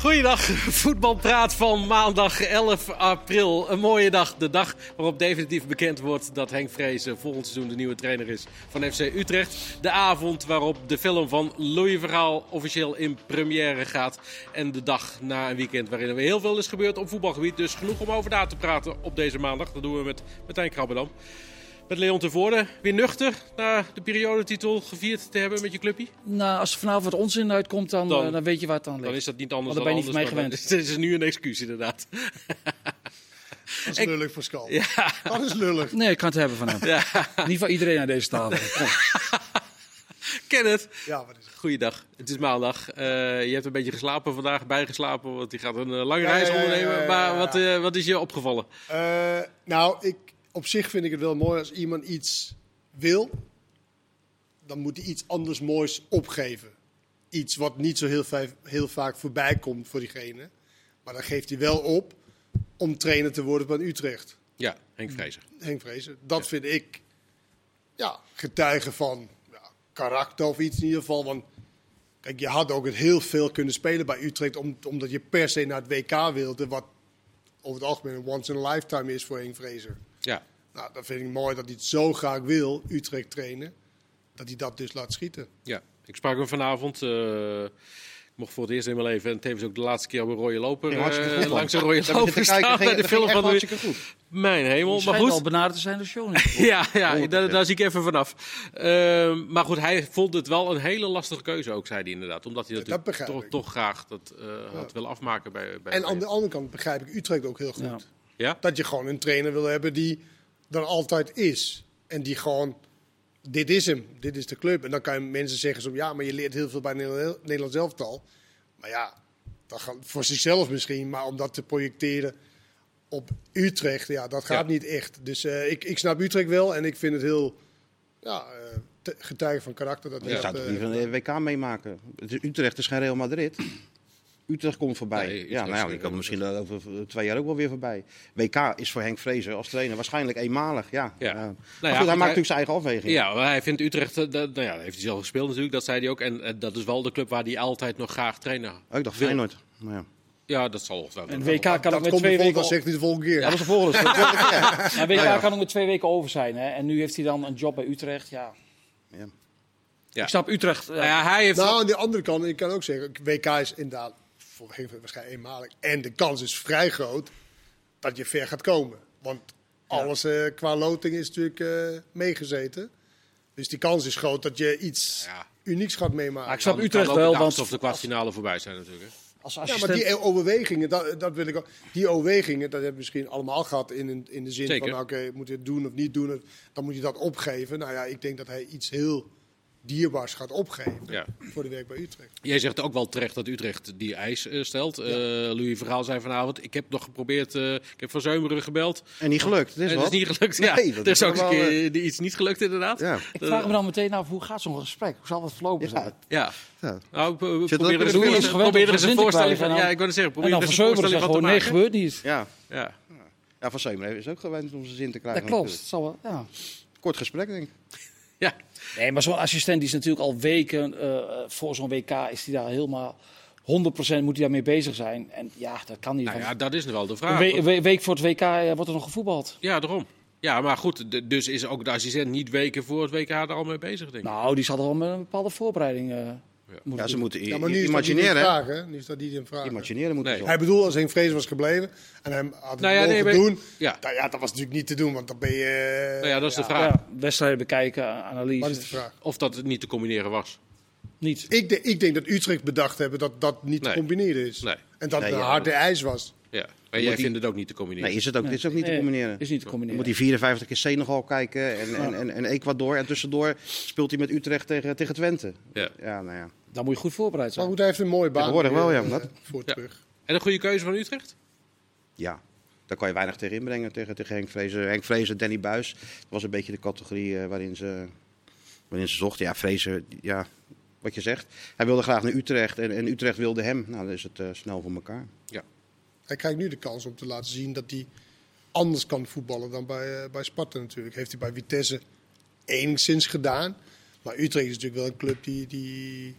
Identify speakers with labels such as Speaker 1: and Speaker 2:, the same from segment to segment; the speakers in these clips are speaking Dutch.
Speaker 1: Goeiedag, voetbalpraat van maandag 11 april. Een mooie dag, de dag waarop definitief bekend wordt dat Henk Vrezen volgend seizoen de nieuwe trainer is van FC Utrecht. De avond waarop de film van Louis Verhaal officieel in première gaat. En de dag na een weekend waarin er weer heel veel is gebeurd op voetbalgebied. Dus genoeg om over na te praten op deze maandag. Dat doen we met Martijn Krabbedam. Met Leon Tevoorde, weer nuchter na de periodetitel gevierd te hebben met je clubje?
Speaker 2: Nou, als er vanavond wat onzin uitkomt, dan,
Speaker 1: Dan-
Speaker 2: eh, dan weet je waar het aan ligt.
Speaker 1: Dan is dat niet anders
Speaker 2: Want
Speaker 1: dan
Speaker 2: daar Oh, ben
Speaker 1: anders.
Speaker 2: je niet
Speaker 1: maar dat
Speaker 2: van mij
Speaker 1: is- is nu een excuus inderdaad.
Speaker 3: Dat is lullig voor Skal. Dat is lullig.
Speaker 2: Nee, ik kan het hebben van hem.
Speaker 1: Ja,
Speaker 2: Niet van iedereen aan deze tafel. Kom.
Speaker 1: ken het.
Speaker 3: Ja, wat is het?
Speaker 1: Goeiedag, het is maandag. Eh, je hebt een beetje geslapen vandaag, bijgeslapen, want die gaat een eh, lange
Speaker 3: Ja,
Speaker 1: reis
Speaker 3: ja, ja, ja,
Speaker 1: ondernemen.
Speaker 3: ja, ja,
Speaker 1: Maar
Speaker 3: ja.
Speaker 1: wat, eh, wat is je opgevallen?
Speaker 3: Eh, nou, ik, op zich vind ik het wel mooi als iemand iets wil. Dan moet hij iets anders moois opgeven. Iets wat niet zo heel, va- heel vaak voorbij komt voor diegene. Maar dan geeft hij wel op om trainer te worden van Utrecht.
Speaker 1: Ja, Henk Vrezer.
Speaker 3: Henk Vrezen. Dat vind ik ja, getuige van ja, karakter of iets in ieder geval. Want kijk, je had ook het heel veel kunnen spelen bij Utrecht, om- omdat je per se naar het WK wilde. Wat over het algemeen een once in a lifetime is voor Henk Vrezen.
Speaker 1: Ja,
Speaker 3: Nou, dat vind ik mooi dat hij het zo graag wil, Utrecht trainen, dat hij dat dus laat schieten.
Speaker 1: ja. Ik sprak hem vanavond. eh, ik mocht voor het eerst in mijn leven en tevens ook de laatste keer op een rode loper.
Speaker 4: Ging hartstikke
Speaker 1: eh,
Speaker 4: goed, man.
Speaker 1: langs een rode
Speaker 4: Daar heb je te
Speaker 1: loper staan
Speaker 4: kijken,
Speaker 1: bij
Speaker 4: ging-
Speaker 1: de
Speaker 4: dat
Speaker 1: film
Speaker 4: ging
Speaker 1: van
Speaker 4: echt
Speaker 1: de-
Speaker 4: hartstikke goed.
Speaker 1: Mijn hemel, maar
Speaker 2: Schijnt
Speaker 1: goed.
Speaker 2: al benaderd te zijn de show niet.
Speaker 1: Ja, ja daar,
Speaker 4: 100%.
Speaker 1: daar zie ik even vanaf. Ehm, maar goed, hij vond het wel een hele lastige keuze ook, zei hij inderdaad. Omdat hij
Speaker 3: Ja, dat
Speaker 1: natuurlijk
Speaker 3: begrijp
Speaker 1: toch,
Speaker 3: ik.
Speaker 1: toch graag dat eh, had willen afmaken bij, bij
Speaker 3: En aan de andere kant begrijp ik Utrecht ook heel goed.
Speaker 2: Ja.
Speaker 1: Ja?
Speaker 3: Dat je gewoon een trainer wil hebben die er altijd is. En die gewoon, dit is hem, dit is de club. En dan kan je mensen zeggen, zo, ja, maar je leert heel veel bij Nederland Nederlands elftal. Maar ja, dat gaat voor zichzelf misschien, maar om dat te projecteren op Utrecht, ja, dat gaat
Speaker 1: Ja.
Speaker 3: niet echt. Dus eh, ik, ik snap Utrecht wel en ik vind het heel ja, eh, te- getuige van karakter. Dat hij
Speaker 4: Ik
Speaker 3: dat,
Speaker 4: zou toch
Speaker 3: eh,
Speaker 4: liever een WK meemaken. Het is- Utrecht is geen Real Madrid. Utrecht komt voorbij.
Speaker 1: Nee, Utrecht
Speaker 4: ja,
Speaker 1: is
Speaker 4: nou ja, die
Speaker 1: geen
Speaker 4: kan
Speaker 1: Real
Speaker 4: misschien over eh, twee jaar ook wel weer voorbij. WK is voor Henk Vrezen als trainer waarschijnlijk eenmalig. Ja.
Speaker 1: Ja.
Speaker 4: Ja.
Speaker 1: Nou ja,
Speaker 4: Maar goed,
Speaker 1: goed,
Speaker 4: hij
Speaker 1: hij-
Speaker 4: maakt natuurlijk zijn eigen afweging.
Speaker 1: Ja, maar hij vindt Utrecht, eh, dat, nou ja, dat heeft hij zelf gespeeld natuurlijk, dat zei hij ook. En eh, dat is wel de club waar hij altijd nog graag trainer
Speaker 4: Oh, ik dacht
Speaker 1: wil.
Speaker 4: Feyenoord. Maar ja.
Speaker 1: Ja, dat zal wel.
Speaker 2: En WK kan
Speaker 3: dat
Speaker 2: ook met
Speaker 3: komt
Speaker 2: twee
Speaker 3: de volgende,
Speaker 2: weken
Speaker 3: dat zegt hij de volgende keer.
Speaker 2: Ja, dat is de volgende. Maar WK kan ook met twee weken over zijn. Hè. En nu heeft hij dan een job bij Utrecht. Ja.
Speaker 4: Ja.
Speaker 1: Ja.
Speaker 2: Ik snap Utrecht. eh,
Speaker 1: Nou ja, hij heeft
Speaker 3: Nou, aan de andere kant, ik kan ook zeggen, WK is inderdaad voor heel veel waarschijnlijk eenmalig. En de kans is vrij groot dat je ver gaat komen. Want alles eh, qua loting is natuurlijk eh, meegezeten. Dus die kans is groot dat je iets
Speaker 1: Ja.
Speaker 3: unieks gaat
Speaker 2: maar ik
Speaker 3: meemaken.
Speaker 2: snap Utrecht wel, want
Speaker 1: of de kwartfinale voorbij zijn natuurlijk. hè.
Speaker 2: als
Speaker 3: Ja, maar
Speaker 2: assistent...
Speaker 3: die overwegingen, dat, dat wil ik ook. Die overwegingen, dat hebben we misschien allemaal gehad in, in, in de zin
Speaker 1: Zeker.
Speaker 3: van, oké, moet je het doen of niet doen? Dan moet je dat opgeven. Nou ja, ik denk dat hij iets heel dierbaars gaat opgeven
Speaker 1: Ja.
Speaker 3: voor de werk bij Utrecht.
Speaker 1: Jij zegt ook wel terecht dat Utrecht die eis eh, stelt. Eh, Louis Verhaal zei vanavond, ik heb nog geprobeerd, eh, ik heb Van Zeumeren gebeld.
Speaker 4: En niet gelukt. Het is,
Speaker 1: en het
Speaker 4: wat.
Speaker 1: is niet gelukt. Ja,
Speaker 4: Nee, dat
Speaker 1: er is
Speaker 4: is
Speaker 1: ook een
Speaker 4: allemaal,
Speaker 1: keer eh, iets niet gelukt inderdaad.
Speaker 4: Ja.
Speaker 2: Ik
Speaker 1: eh,
Speaker 2: vraag me dan meteen af, hoe gaat zo'n gesprek? Hoe zal dat verlopen zijn?
Speaker 4: Ja.
Speaker 1: Ja.
Speaker 4: Ja.
Speaker 1: Nou, ik, eh,
Speaker 4: dat
Speaker 1: probeer
Speaker 4: ook
Speaker 1: er eens-
Speaker 4: weer eens
Speaker 2: gewend om
Speaker 1: probeer er eens
Speaker 2: gezin
Speaker 1: een
Speaker 2: te
Speaker 1: voorstelling
Speaker 2: krijgen en
Speaker 1: van.
Speaker 2: dan-
Speaker 1: Ja, ik wou net zeggen,
Speaker 2: en
Speaker 1: probeer
Speaker 2: dan
Speaker 1: er
Speaker 2: van
Speaker 1: eens een
Speaker 2: Zeuberen
Speaker 1: voorstelling
Speaker 2: zegt
Speaker 1: van te
Speaker 2: gewoon, nee,
Speaker 1: maken.
Speaker 2: gebeurt niet.
Speaker 4: Ja.
Speaker 1: Ja.
Speaker 4: ja, Van Zeemer is ook gewend om zijn zin te krijgen.
Speaker 2: Dat klopt.
Speaker 4: natuurlijk.
Speaker 2: Zal wel, ja.
Speaker 4: Kort gesprek, denk ik.
Speaker 1: ja.
Speaker 2: Nee, maar zo'n assistent die is natuurlijk al weken eh, voor zo'n WK is die daar helemaal 100% moet hij daarmee bezig zijn. En ja, dat kan niet.
Speaker 1: Nou
Speaker 2: want
Speaker 1: ja, dat is wel de
Speaker 2: een
Speaker 1: vraag.
Speaker 2: we- een we- week voor het WK eh, wordt er nog gevoetbald.
Speaker 1: Ja, daarom. Ja, maar goed, de- dus is ook de assistent niet weken voor het WK er al mee bezig, denk ik.
Speaker 2: Nou, die zal er wel met een bepaalde voorbereiding eh moeten
Speaker 4: Ja, ze
Speaker 2: doen.
Speaker 4: moeten i-
Speaker 3: Ja, maar nu is dat niet in
Speaker 4: imagineren. hè.
Speaker 3: vraag, hè? Nu is dat niet in vraag.
Speaker 4: Imagineren moeten
Speaker 1: Nee.
Speaker 4: ze.
Speaker 3: Hij bedoelt, als Henk Vrees was gebleven en hem had het
Speaker 1: Nou ja,
Speaker 3: mogen
Speaker 1: nee, maar-
Speaker 3: doen.
Speaker 1: ja.
Speaker 3: Nou ja, dat was natuurlijk niet te doen, want dan ben je...
Speaker 1: Nou ja, dat is de vraag.
Speaker 2: ja, wedstrijden bekijken, a-
Speaker 3: Wat is de
Speaker 2: analyses.
Speaker 3: vraag?
Speaker 1: Of dat het niet te combineren was.
Speaker 2: Niet.
Speaker 3: Ik, de- ik denk dat Utrecht bedacht hebben dat dat niet
Speaker 1: Nee.
Speaker 3: te combineren is.
Speaker 1: Nee.
Speaker 3: En dat
Speaker 4: Nee,
Speaker 3: het een
Speaker 4: ja,
Speaker 3: harde ijs was.
Speaker 1: Ja. Maar jij
Speaker 4: die-
Speaker 1: vindt het ook niet te combineren.
Speaker 4: Nee, is het ook, is ook niet te
Speaker 2: Nee,
Speaker 4: combineren.
Speaker 2: Is niet te
Speaker 4: Dan
Speaker 2: combineren.
Speaker 4: moet hij 54 keer Senegal kijken en, en, en, en Ecuador. En tussendoor speelt hij met Utrecht tegen, tegen Twente.
Speaker 1: Ja.
Speaker 4: Ja, nou ja.
Speaker 2: Dan moet je goed voorbereid
Speaker 3: Maar
Speaker 2: zijn.
Speaker 3: goed, hij heeft een mooie baan.
Speaker 4: Tegenwoordig wel,
Speaker 3: weer,
Speaker 4: ja,
Speaker 3: eh,
Speaker 4: dat-
Speaker 3: Voor
Speaker 1: Ja.
Speaker 3: terug.
Speaker 1: En een goede keuze van Utrecht?
Speaker 4: Ja, daar kan je weinig tegen inbrengen tegen, tegen Henk Vrezen. Henk Vrezen, Danny Buis. Dat was een beetje de categorie eh, waarin, ze, waarin ze zochten. Ja, Vrezen, ja, wat je zegt. Hij wilde graag naar Utrecht en, en Utrecht wilde hem. Nou, dan is het eh, snel voor elkaar.
Speaker 3: Hij krijgt nu de kans om te laten zien dat hij anders kan voetballen dan bij, eh, bij Sparta natuurlijk. Heeft hij bij Vitesse enigszins gedaan. Maar Utrecht is natuurlijk wel een club die, die,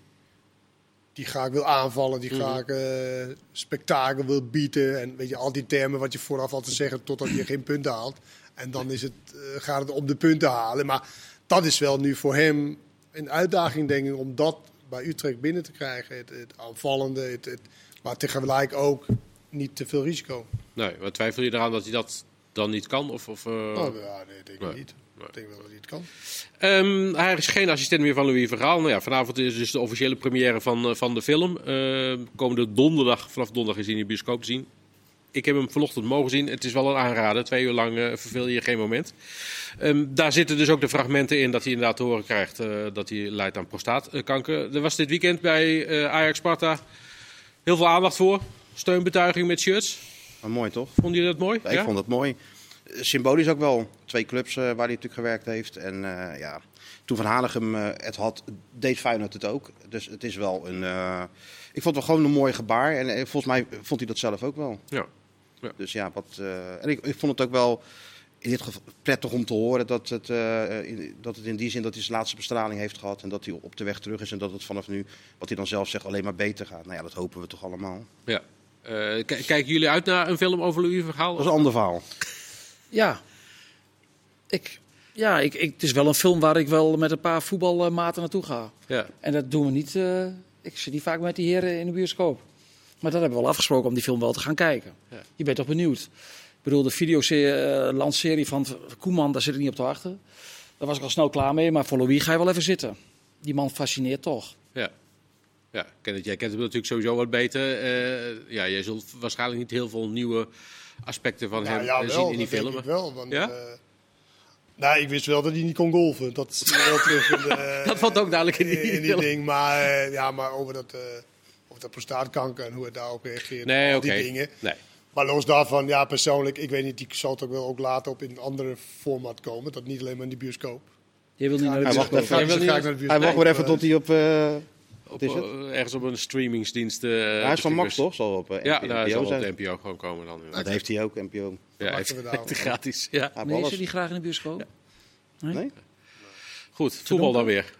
Speaker 3: die graag wil aanvallen, die
Speaker 1: Mhm.
Speaker 3: graag eh, spektakel wil bieden. En weet je, al die termen wat je vooraf altijd zegt totdat je geen punten haalt. En dan is het, eh, gaat het om de punten halen. Maar dat is wel nu voor hem een uitdaging, denk ik, om dat bij Utrecht binnen te krijgen. Het, het aanvallende, het, het, maar tegelijk ook niet te veel risico.
Speaker 1: Nee, maar twijfel je eraan dat hij dat dan niet kan? Of, of, eh,
Speaker 3: Oh, ja, nee, denk ik
Speaker 1: Nee.
Speaker 3: niet. Ik denk wel dat hij het kan.
Speaker 1: Ehm, hij is geen assistent meer van Louis Verhaal. Nou ja, vanavond is dus de officiële première van, eh, van de film. Ehm, komende donderdag, vanaf donderdag is hij in de bioscoop te zien. Ik heb hem vanochtend mogen zien. Het is wel een aanrader. Twee uur lang eh, verveel je geen moment. Ehm, daar zitten dus ook de fragmenten in dat hij inderdaad te horen krijgt eh, dat hij lijdt aan prostaatkanker. Er was dit weekend bij eh, Ajax Sparta heel veel aandacht voor. Steunbetuiging met shirts.
Speaker 4: Maar mooi toch?
Speaker 1: Vond je dat mooi?
Speaker 4: Ja, Ik vond het mooi. Eh, Symbolisch ook wel. Twee clubs eh, waar hij natuurlijk gewerkt heeft. En eh, ja, toen Van Hanegem eh, het had, deed Feyenoord het ook. Dus het is wel een... eh, ik vond het wel gewoon een mooi gebaar. En eh, volgens mij vond hij dat zelf ook wel.
Speaker 1: Ja.
Speaker 4: Dus ja, wat... eh, en ik, ik vond het ook wel in dit geval prettig om te horen dat het, eh, in, dat het in die zin dat hij zijn laatste bestraling heeft gehad. En dat hij op de weg terug is. En dat het vanaf nu, wat hij dan zelf zegt, alleen maar beter gaat. Nou ja, dat hopen we toch allemaal.
Speaker 1: ja. Eh, k- kijken jullie uit naar een film over Louis Verhaal?
Speaker 4: Dat is een ander verhaal.
Speaker 2: Ja, ik, ja ik, ik, het is wel een film waar ik wel met een paar voetbalmaten naartoe ga.
Speaker 1: Ja.
Speaker 2: En dat doen we niet. eh, ik zit niet vaak met die heren in de bioscoop. Maar dat hebben we wel afgesproken om die film wel te gaan kijken.
Speaker 1: Ja.
Speaker 2: Je bent toch benieuwd? Ik bedoel, de videolandserie van Koeman, daar zit ik niet op te wachten. Daar was ik al snel klaar mee, maar voor Louis ga je wel even zitten. Die man fascineert toch.
Speaker 1: Ja. Ja, ik ken het. jij kent hem natuurlijk sowieso wat beter. Eh, ja, jij zult waarschijnlijk niet heel veel nieuwe aspecten van
Speaker 4: Nou,
Speaker 1: hem eh, zien in die
Speaker 3: dat denk
Speaker 1: film.
Speaker 3: ik Nou wel. Want,
Speaker 1: Ja?
Speaker 3: eh, nou, ik wist wel dat hij niet kon golven. Dat is wel terug in, de,
Speaker 1: Dat valt ook duidelijk in die
Speaker 3: in
Speaker 1: film.
Speaker 3: ding. Maar, eh, ja, maar over dat, eh over dat prostaatkanker en hoe het daarop reageert.
Speaker 1: Nee,
Speaker 3: al
Speaker 1: oké.
Speaker 3: die dingen.
Speaker 1: Nee.
Speaker 3: Maar los daarvan, ja, persoonlijk, ik weet niet, die zal toch wel ook later op in een andere format komen. Dat niet alleen maar in de bioscoop.
Speaker 2: Je wil niet naar de
Speaker 4: Hij
Speaker 3: Dus
Speaker 4: wacht
Speaker 2: bioscoop.
Speaker 3: dan
Speaker 4: even.
Speaker 3: ga
Speaker 1: Hij
Speaker 3: ik- dan
Speaker 1: wil
Speaker 3: ga
Speaker 1: niet-
Speaker 3: ik naar de
Speaker 4: Hij
Speaker 3: bioscoop,
Speaker 4: wacht maar even
Speaker 3: eh,
Speaker 4: tot hij op... eh,
Speaker 1: Op,
Speaker 4: is het?
Speaker 1: eh, ergens op een streamingsdienst. eh,
Speaker 4: hij is van
Speaker 1: beschikbaar
Speaker 4: Max toch? Zal op eh,
Speaker 1: Ja,
Speaker 4: NPO
Speaker 1: daar zal op
Speaker 4: zijn. Ah,
Speaker 1: de NPO gewoon komen dan.
Speaker 4: Dat heeft hij ook, NPO.
Speaker 1: Ja,
Speaker 3: Wachten we
Speaker 1: heeft,
Speaker 3: daarop.
Speaker 1: gratis. Ja.
Speaker 4: Hij heeft
Speaker 2: Nee,
Speaker 4: alles.
Speaker 2: zit die graag in de bioscoop?
Speaker 4: Nee?
Speaker 1: Goed, voetbal dan weer.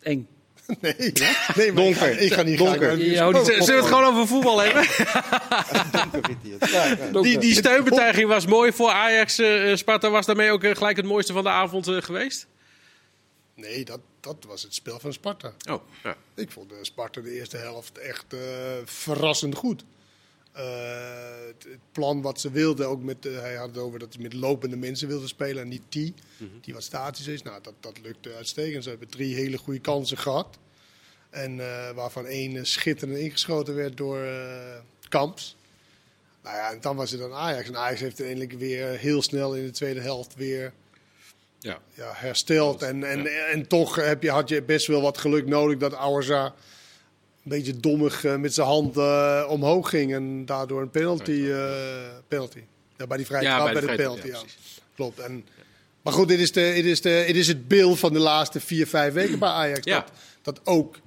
Speaker 2: Eng.
Speaker 3: Nee, nee maar
Speaker 4: Donker.
Speaker 3: Ik ga, ik ga niet
Speaker 4: Donker.
Speaker 3: graag naar de
Speaker 2: Je
Speaker 3: bioscoop.
Speaker 2: houdt niet
Speaker 1: Zullen we het gewoon over voetbal hebben?
Speaker 2: van
Speaker 1: Die, die
Speaker 2: donker.
Speaker 1: steunbetuiging was mooi voor Ajax. eh, eh, Sparta was daarmee ook eh, gelijk het mooiste van de avond eh, geweest.
Speaker 3: Nee, dat, dat was het spel van Sparta.
Speaker 1: Oh, ja.
Speaker 3: Ik vond eh, Sparta de eerste helft echt eh, verrassend goed. Eh, het, het plan wat ze wilden, ook met, eh, hij had het over dat hij met lopende mensen wilde spelen en niet T, die wat statisch is. Nou, dat, dat lukte uitstekend. Ze hebben drie hele goede kansen gehad. En eh, waarvan één eh, schitterend ingeschoten werd door eh, Kamps. Nou ja, en dan was het dan Ajax. En Ajax heeft uiteindelijk weer heel snel in de tweede helft weer
Speaker 1: ja.
Speaker 3: ja, hersteld. En, en, en toch heb je, had je best wel wat geluk nodig dat Auerza een beetje dommig eh, met zijn hand eh, omhoog ging. En daardoor een penalty. eh, penalty. Ja, bij die vrije
Speaker 1: Ja, bij
Speaker 3: trap, bij
Speaker 1: de
Speaker 3: de,
Speaker 1: vrije trap,
Speaker 3: penalty.
Speaker 1: ja,
Speaker 3: Ja, Klopt. En, maar goed, dit is, de, dit, is de, dit is het beeld van de laatste vier, vijf weken bij Ajax.
Speaker 1: Ja.
Speaker 3: Dat, dat ook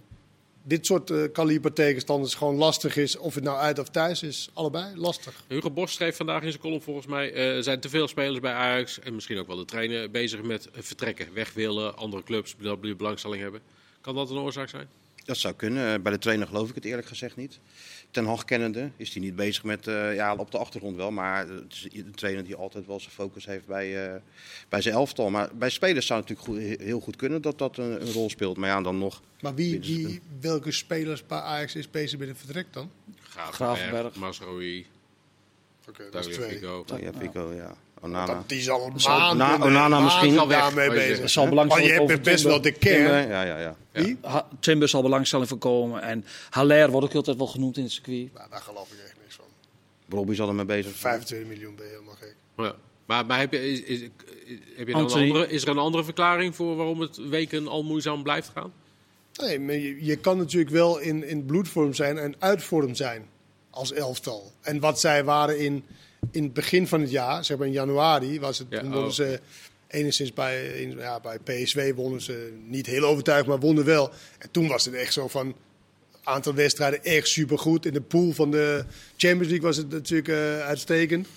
Speaker 3: dit soort eh, kaliber tegenstanders gewoon lastig is. Of het nou uit of thuis is, allebei lastig.
Speaker 1: Hugo Bos schreef vandaag in zijn column volgens mij... eh, er zijn te veel spelers bij Ajax en misschien ook wel de trainer... bezig met eh, vertrekken, weg willen, andere clubs bla- bla- belangstelling hebben. Kan dat een oorzaak zijn?
Speaker 4: Dat zou kunnen. Eh, Bij de trainer geloof ik het eerlijk gezegd niet. Ten Hag kennende is hij niet bezig met, eh, ja, op de achtergrond wel. Maar eh, het is een trainer die altijd wel zijn focus heeft bij, eh, bij zijn elftal. Maar bij spelers zou het natuurlijk goed- heel goed kunnen dat dat een, een rol speelt. Maar ja, dan nog.
Speaker 3: Maar wie,
Speaker 4: Dit is het.
Speaker 3: wie, welke spelers bij Ajax is bezig met een vertrek dan?
Speaker 2: Gravenberg.
Speaker 1: Masroi,
Speaker 3: Oké, dat is
Speaker 1: Dario
Speaker 3: twee.
Speaker 1: Figo.
Speaker 4: Ja, Pico, ja. Onana.
Speaker 3: Dat, die zal een
Speaker 4: Ah, nou. Zal-
Speaker 3: maand,
Speaker 4: Na- Onana misschien.
Speaker 1: Zal weg.
Speaker 3: daarmee
Speaker 1: Wat je
Speaker 3: bezig
Speaker 1: zegt.
Speaker 2: Er zal
Speaker 3: Maar
Speaker 2: belangstelling
Speaker 3: je
Speaker 2: voor
Speaker 3: hebt best wel
Speaker 2: Timber-
Speaker 3: de kern.
Speaker 4: Ja, ja, ja.
Speaker 3: Wie?
Speaker 2: Ha- Timber zal belangstelling voor komen. En Haller wordt ook heel tijd wel genoemd in het circuit.
Speaker 3: Nou, daar geloof ik echt niks van.
Speaker 4: Robbie zal ermee bezig zijn.
Speaker 3: 25 miljoen ben je helemaal gek.
Speaker 1: Ja. Maar, maar heb je, is, is- heb je dan een
Speaker 2: Anthony.
Speaker 1: andere, is er een andere verklaring voor waarom het weken al moeizaam blijft gaan?
Speaker 3: Nee, maar je, je kan natuurlijk wel in, in bloedvorm zijn en uitvorm zijn als elftal. En wat zij waren in, in het begin van het jaar, zeg maar in januari, was het,
Speaker 1: Ja,
Speaker 3: toen wonnen
Speaker 1: oh.
Speaker 3: ze enigszins bij, in- ja, bij PSV wonnen ze niet heel overtuigd, maar wonnen wel. En toen was het echt zo van aantal wedstrijden echt supergoed. In de pool van de Champions League was het natuurlijk eh, uitstekend.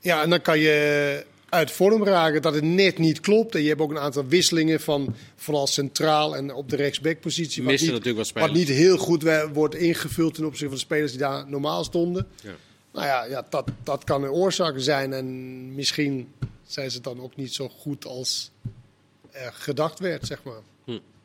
Speaker 3: Ja, en dan kan je uit vorm raken. Dat het net niet klopt. En je hebt ook een aantal wisselingen van vooral centraal en op de rechtsbackpositie. Wat,
Speaker 1: Missen
Speaker 3: niet-
Speaker 1: natuurlijk wat spelers.
Speaker 3: wat niet heel goed we- wordt ingevuld ten opzichte van de spelers die daar normaal stonden.
Speaker 1: Ja.
Speaker 3: Nou ja, ja dat, dat kan een oorzaak zijn. En misschien zijn ze dan ook niet zo goed als er gedacht werd, zeg maar.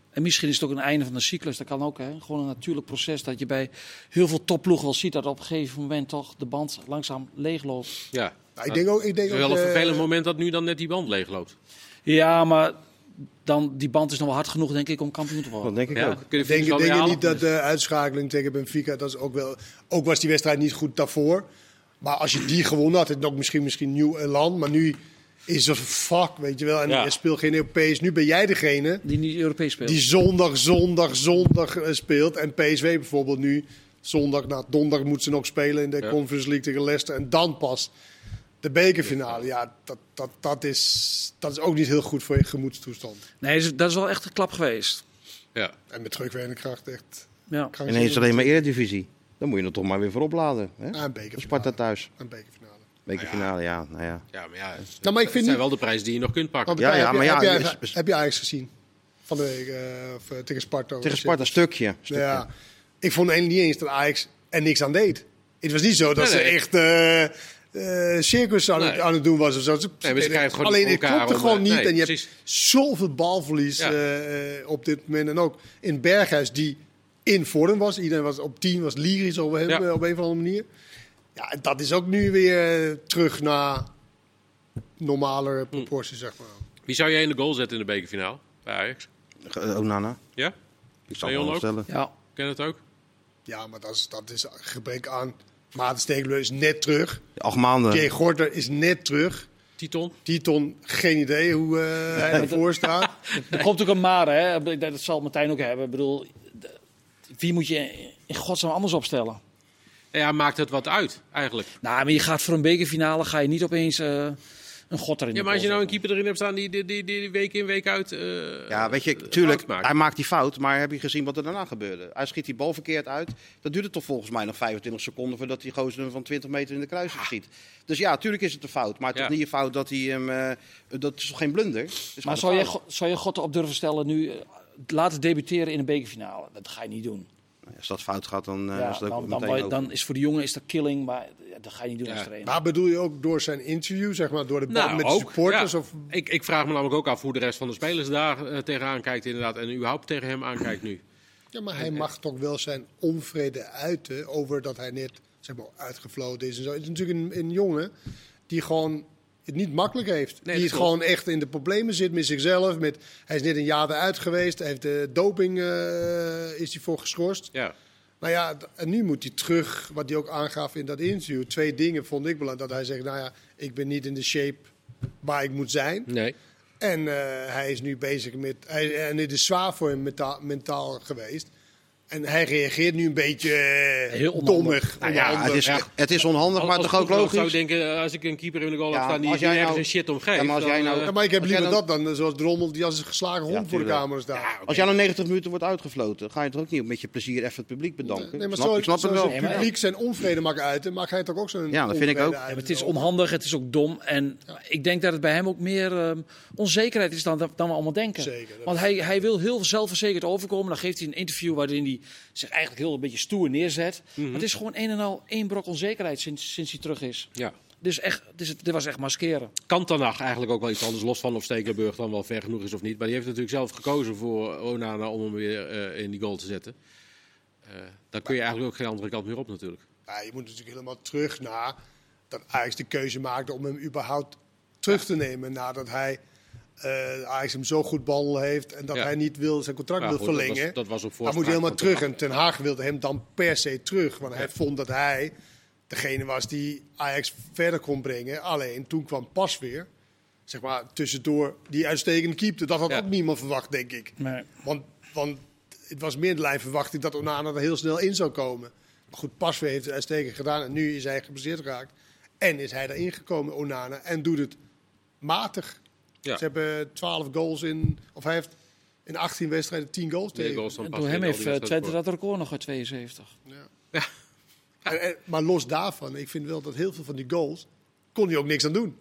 Speaker 2: En misschien is het ook een einde van de cyclus. Dat kan ook. Hè? Gewoon een natuurlijk proces dat je bij heel veel topploegen wel ziet dat op een gegeven moment toch de band langzaam leegloopt.
Speaker 1: Ja.
Speaker 3: Nou, ik denk ook... Ik denk
Speaker 1: Het is wel
Speaker 3: ook,
Speaker 1: een
Speaker 3: eh,
Speaker 1: vervelend moment dat nu dan net die band leegloopt.
Speaker 2: Ja, maar dan, die band is nog wel hard genoeg, denk ik, om kampioen te worden.
Speaker 4: Dat denk ik
Speaker 1: Ja,
Speaker 4: ook.
Speaker 1: kun je
Speaker 3: Denk,
Speaker 1: denk,
Speaker 3: denk je
Speaker 1: halen?
Speaker 3: niet dat de uitschakeling tegen Benfica, dat is ook wel... Ook was die wedstrijd niet goed daarvoor. Maar als je die gewonnen had, het nog misschien, misschien nieuw elan. Maar nu is er fuck, weet je wel. En
Speaker 1: Ja.
Speaker 3: je speelt geen Europees. Nu ben jij degene
Speaker 2: Die niet Europees speelt.
Speaker 3: die zondag, zondag, zondag eh, speelt. En PSV bijvoorbeeld nu zondag, nou donderdag moet ze nog spelen in de
Speaker 1: Ja.
Speaker 3: Conference League tegen Leicester. En dan pas de bekerfinale. Ja, dat, dat, dat, is, dat is ook niet heel goed voor je gemoedstoestand.
Speaker 2: Nee, dat is wel echt een klap geweest.
Speaker 1: Ja.
Speaker 3: En met terugwerende kracht echt
Speaker 2: Ja.
Speaker 4: En ineens alleen maar Eredivisie. Dan moet je er toch maar weer voor opladen. Hè?
Speaker 3: Ah, een bekerfinale.
Speaker 4: Sparta thuis.
Speaker 3: Een bekerfinale.
Speaker 4: Bekerfinale, ja. Nou ja.
Speaker 1: ja, maar ja. Het
Speaker 3: Nou, maar ik
Speaker 1: zijn
Speaker 3: vind niet... Oh,
Speaker 1: wel de prijzen die je nog kunt pakken.
Speaker 3: want eh,
Speaker 4: Ja,
Speaker 3: heb
Speaker 4: ja,
Speaker 3: je-
Speaker 4: maar ja,
Speaker 3: Heb je,
Speaker 4: is- is-
Speaker 3: heb je Ajax gezien? Van de week eh, of, eh, tegen Sparta.
Speaker 4: Tegen Sparta, stukje. stukje.
Speaker 3: Ja. Ik vond eigenlijk niet eens dat Ajax er niks aan deed. Het was niet zo dat
Speaker 1: Nee, nee.
Speaker 3: ze echt eh, eh, circus aan, het-
Speaker 1: Nee.
Speaker 3: aan het doen was of zo. Ze-
Speaker 1: Nee, maar ze krijgen het gewoon
Speaker 3: Alleen
Speaker 1: niet
Speaker 3: het
Speaker 1: voor elkaar
Speaker 3: klopte
Speaker 1: om,
Speaker 3: gewoon
Speaker 1: eh,
Speaker 3: niet.
Speaker 1: nee,
Speaker 3: en je
Speaker 1: precies.
Speaker 3: hebt zoveel balverlies
Speaker 1: Ja.
Speaker 3: eh, eh, op dit moment. En ook in Berghuis, die in vorm was. Iedereen was op 10, was lyrisch op, hem,
Speaker 1: Ja.
Speaker 3: eh, op een of andere manier. Ja, en dat is ook nu weer eh, terug naar
Speaker 1: Hm.
Speaker 3: normalere proporties, zeg maar.
Speaker 1: Wie zou jij in de goal zetten in de bekerfinale? Bij Ajax?
Speaker 4: Eh, Onana.
Speaker 1: Ja?
Speaker 4: Ik zal
Speaker 1: Leon
Speaker 4: het wel
Speaker 1: ook?
Speaker 4: stellen.
Speaker 2: Ja.
Speaker 1: Ken het ook?
Speaker 3: Ja, maar dat is, dat is gebrek aan. Maarten Stekelenburg is net terug.
Speaker 4: Acht maanden.
Speaker 3: Jay Gorter is net terug.
Speaker 1: Titon?
Speaker 3: Titon, geen idee hoe eh, hij ervoor staat.
Speaker 2: Er komt ook een maar, hè? Dat- dat zal Martijn ook hebben. Ik bedoel, de- wie moet je in godsnaam anders opstellen?
Speaker 1: Ja, maakt het wat uit eigenlijk.
Speaker 2: Nou, maar je gaat voor een bekerfinale, ga je niet opeens eh, een god erin.
Speaker 1: Ja, maar als je nou een keeper erin hebt staan die, die, die, die week in, week uit... eh,
Speaker 4: Ja, weet je,
Speaker 1: een
Speaker 4: tuurlijk,
Speaker 1: fout maakt.
Speaker 4: hij maakt die fout, maar heb je gezien wat er daarna gebeurde? Hij schiet die bal verkeerd uit. Dat duurde toch volgens mij nog 25 seconden voordat die gozer hem van 20 meter in de kruising schiet. Dus ja, tuurlijk is het een fout, maar het
Speaker 1: Ah. Ja.
Speaker 4: is niet je fout dat hij hem... eh, dat is toch geen blunder? Het is
Speaker 2: Maar
Speaker 4: gewoon
Speaker 2: zou
Speaker 4: een
Speaker 2: je,
Speaker 4: fout.
Speaker 2: go- zou je God op durven stellen nu eh, laten debuteren in een bekerfinale? Dat ga je niet doen.
Speaker 4: Als dat fout gaat, dan eh,
Speaker 2: ja,
Speaker 4: is het ook
Speaker 2: dan, dan,
Speaker 4: meteen
Speaker 2: word je-
Speaker 4: over.
Speaker 2: dan is voor de jongen is dat killing, maar ja, dat ga je niet doen
Speaker 1: Ja.
Speaker 2: als trainer.
Speaker 3: Maar bedoel je ook door zijn interview, zeg maar, door de band
Speaker 1: Nou,
Speaker 3: met
Speaker 1: ook,
Speaker 3: de supporters?
Speaker 1: ja.
Speaker 3: Of,
Speaker 1: ik, ik vraag me namelijk ook af hoe de rest van de spelers daar eh, tegenaan kijkt inderdaad. En überhaupt tegen hem aankijkt nu.
Speaker 3: ja, maar hij mag toch wel zijn onvrede uiten over dat hij net zeg maar, uitgefloten is en zo. Het is natuurlijk een, een jongen die gewoon het niet makkelijk heeft.
Speaker 1: dat
Speaker 3: die het
Speaker 1: klopt.
Speaker 3: gewoon echt in de problemen zit met zichzelf. Met, hij is net een jaar eruit geweest, hij heeft de doping eh, is hij voor geschorst.
Speaker 1: Ja.
Speaker 3: Nou ja, d- en nu moet hij terug, wat hij ook aangaf in dat interview. Twee dingen vond ik belangrijk. Dat hij zegt, nou ja, ik ben niet in de shape waar ik moet zijn.
Speaker 1: Nee.
Speaker 3: En eh, hij is nu bezig met... Hij, en het is zwaar voor hem menta- mentaal geweest. En hij reageert nu een beetje eh,
Speaker 2: Heel onhandig.
Speaker 3: dommig.
Speaker 4: Nou ja, het is,
Speaker 1: Ja.
Speaker 4: het is onhandig, maar
Speaker 1: Als-
Speaker 4: toch
Speaker 1: als
Speaker 4: ook
Speaker 1: ploegenoot zou
Speaker 4: logisch?
Speaker 1: ik denken, eh, als ik een keeper in de goal
Speaker 4: Ja,
Speaker 1: heb staan die
Speaker 4: als
Speaker 1: die
Speaker 4: jij
Speaker 1: ergens
Speaker 4: nou-
Speaker 1: een shit omgeeft.
Speaker 4: Ja, maar als
Speaker 1: dan,
Speaker 4: jij nou-
Speaker 1: eh,
Speaker 3: Ja, maar ik heb
Speaker 4: Als jij
Speaker 3: liever dat dan, eh, zoals Drommel, die als een geslagen hond
Speaker 4: Ja,
Speaker 3: voor de
Speaker 4: tuurlijk.
Speaker 3: camera staat.
Speaker 4: Als jij nou 90 minuten wordt uitgefloten, ga je toch ook niet met je plezier even het publiek bedanken?
Speaker 3: Nee, maar
Speaker 4: snap,
Speaker 3: zo,
Speaker 4: ik snap het
Speaker 3: zoals
Speaker 4: wel.
Speaker 3: het publiek zijn onvrede mag uiten, mag hij toch ook zijn
Speaker 4: Ja, dat vind ik
Speaker 3: onvrede
Speaker 4: ook.
Speaker 3: uiten
Speaker 2: Ja, maar het is
Speaker 3: over-
Speaker 2: onhandig, het is ook dom. En ik denk dat het bij hem ook meer ehm, onzekerheid is dan, dan we allemaal denken.
Speaker 3: Zeker, dat-
Speaker 2: Want hij, hij wil heel zelfverzekerd overkomen. Dan geeft hij een interview waarin hij zich eigenlijk heel een beetje stoer neerzet.
Speaker 1: Mhm.
Speaker 2: Maar het is gewoon een en al één brok onzekerheid sinds, sinds hij terug is.
Speaker 1: ja.
Speaker 2: Dus echt, dit, is, dit was echt maskeren.
Speaker 1: Kan Tanach eigenlijk ook wel iets anders, los van of Stekelenburg dan wel ver genoeg is of niet. Maar die heeft natuurlijk zelf gekozen voor Onana om hem weer eh, in die goal te zetten. Eh, dan kun je eigenlijk ook geen andere kant meer op natuurlijk.
Speaker 3: Ja, Nou, je moet natuurlijk helemaal terug naar dat Ajax de keuze maakte om hem überhaupt terug te nemen. Nadat hij eh Ajax hem zo goed behandeld heeft en dat
Speaker 1: Ja.
Speaker 3: hij niet wil, zijn contract
Speaker 1: Ja,
Speaker 3: wil
Speaker 1: goed, dat
Speaker 3: verlengen.
Speaker 1: was- dat was op
Speaker 3: dan
Speaker 1: voorspraak
Speaker 3: moet hij helemaal
Speaker 1: van Ten
Speaker 3: terug. En Ten Haag wilde hem dan per se terug. Want hij vond dat hij degene was die Ajax verder kon brengen. Alleen toen kwam pas weer. Zeg maar tussendoor die uitstekende keeper. Dat had
Speaker 1: Ja.
Speaker 3: ook niemand verwacht, denk ik. Want, want het was meer in de lijn verwachting dat Onana er heel snel in zou komen. Maar goed, Pasveer heeft het uitstekend gedaan en nu is hij geblesseerd geraakt. En is hij erin gekomen, Onana, en doet het matig.
Speaker 1: Ja.
Speaker 3: Ze hebben 12 goals in, of hij heeft in 18 wedstrijden 10 goals
Speaker 1: Twee
Speaker 3: tegen.
Speaker 1: goals van
Speaker 2: En
Speaker 1: Bas
Speaker 2: door hem
Speaker 1: Lindel,
Speaker 2: heeft
Speaker 1: die
Speaker 2: eh,
Speaker 1: wedstrijd
Speaker 2: Twente
Speaker 1: ervoor.
Speaker 2: dat record nog uit 72.
Speaker 3: En- en- maar los daarvan, ik vind wel dat heel veel van die goals kon hij ook niks aan doen.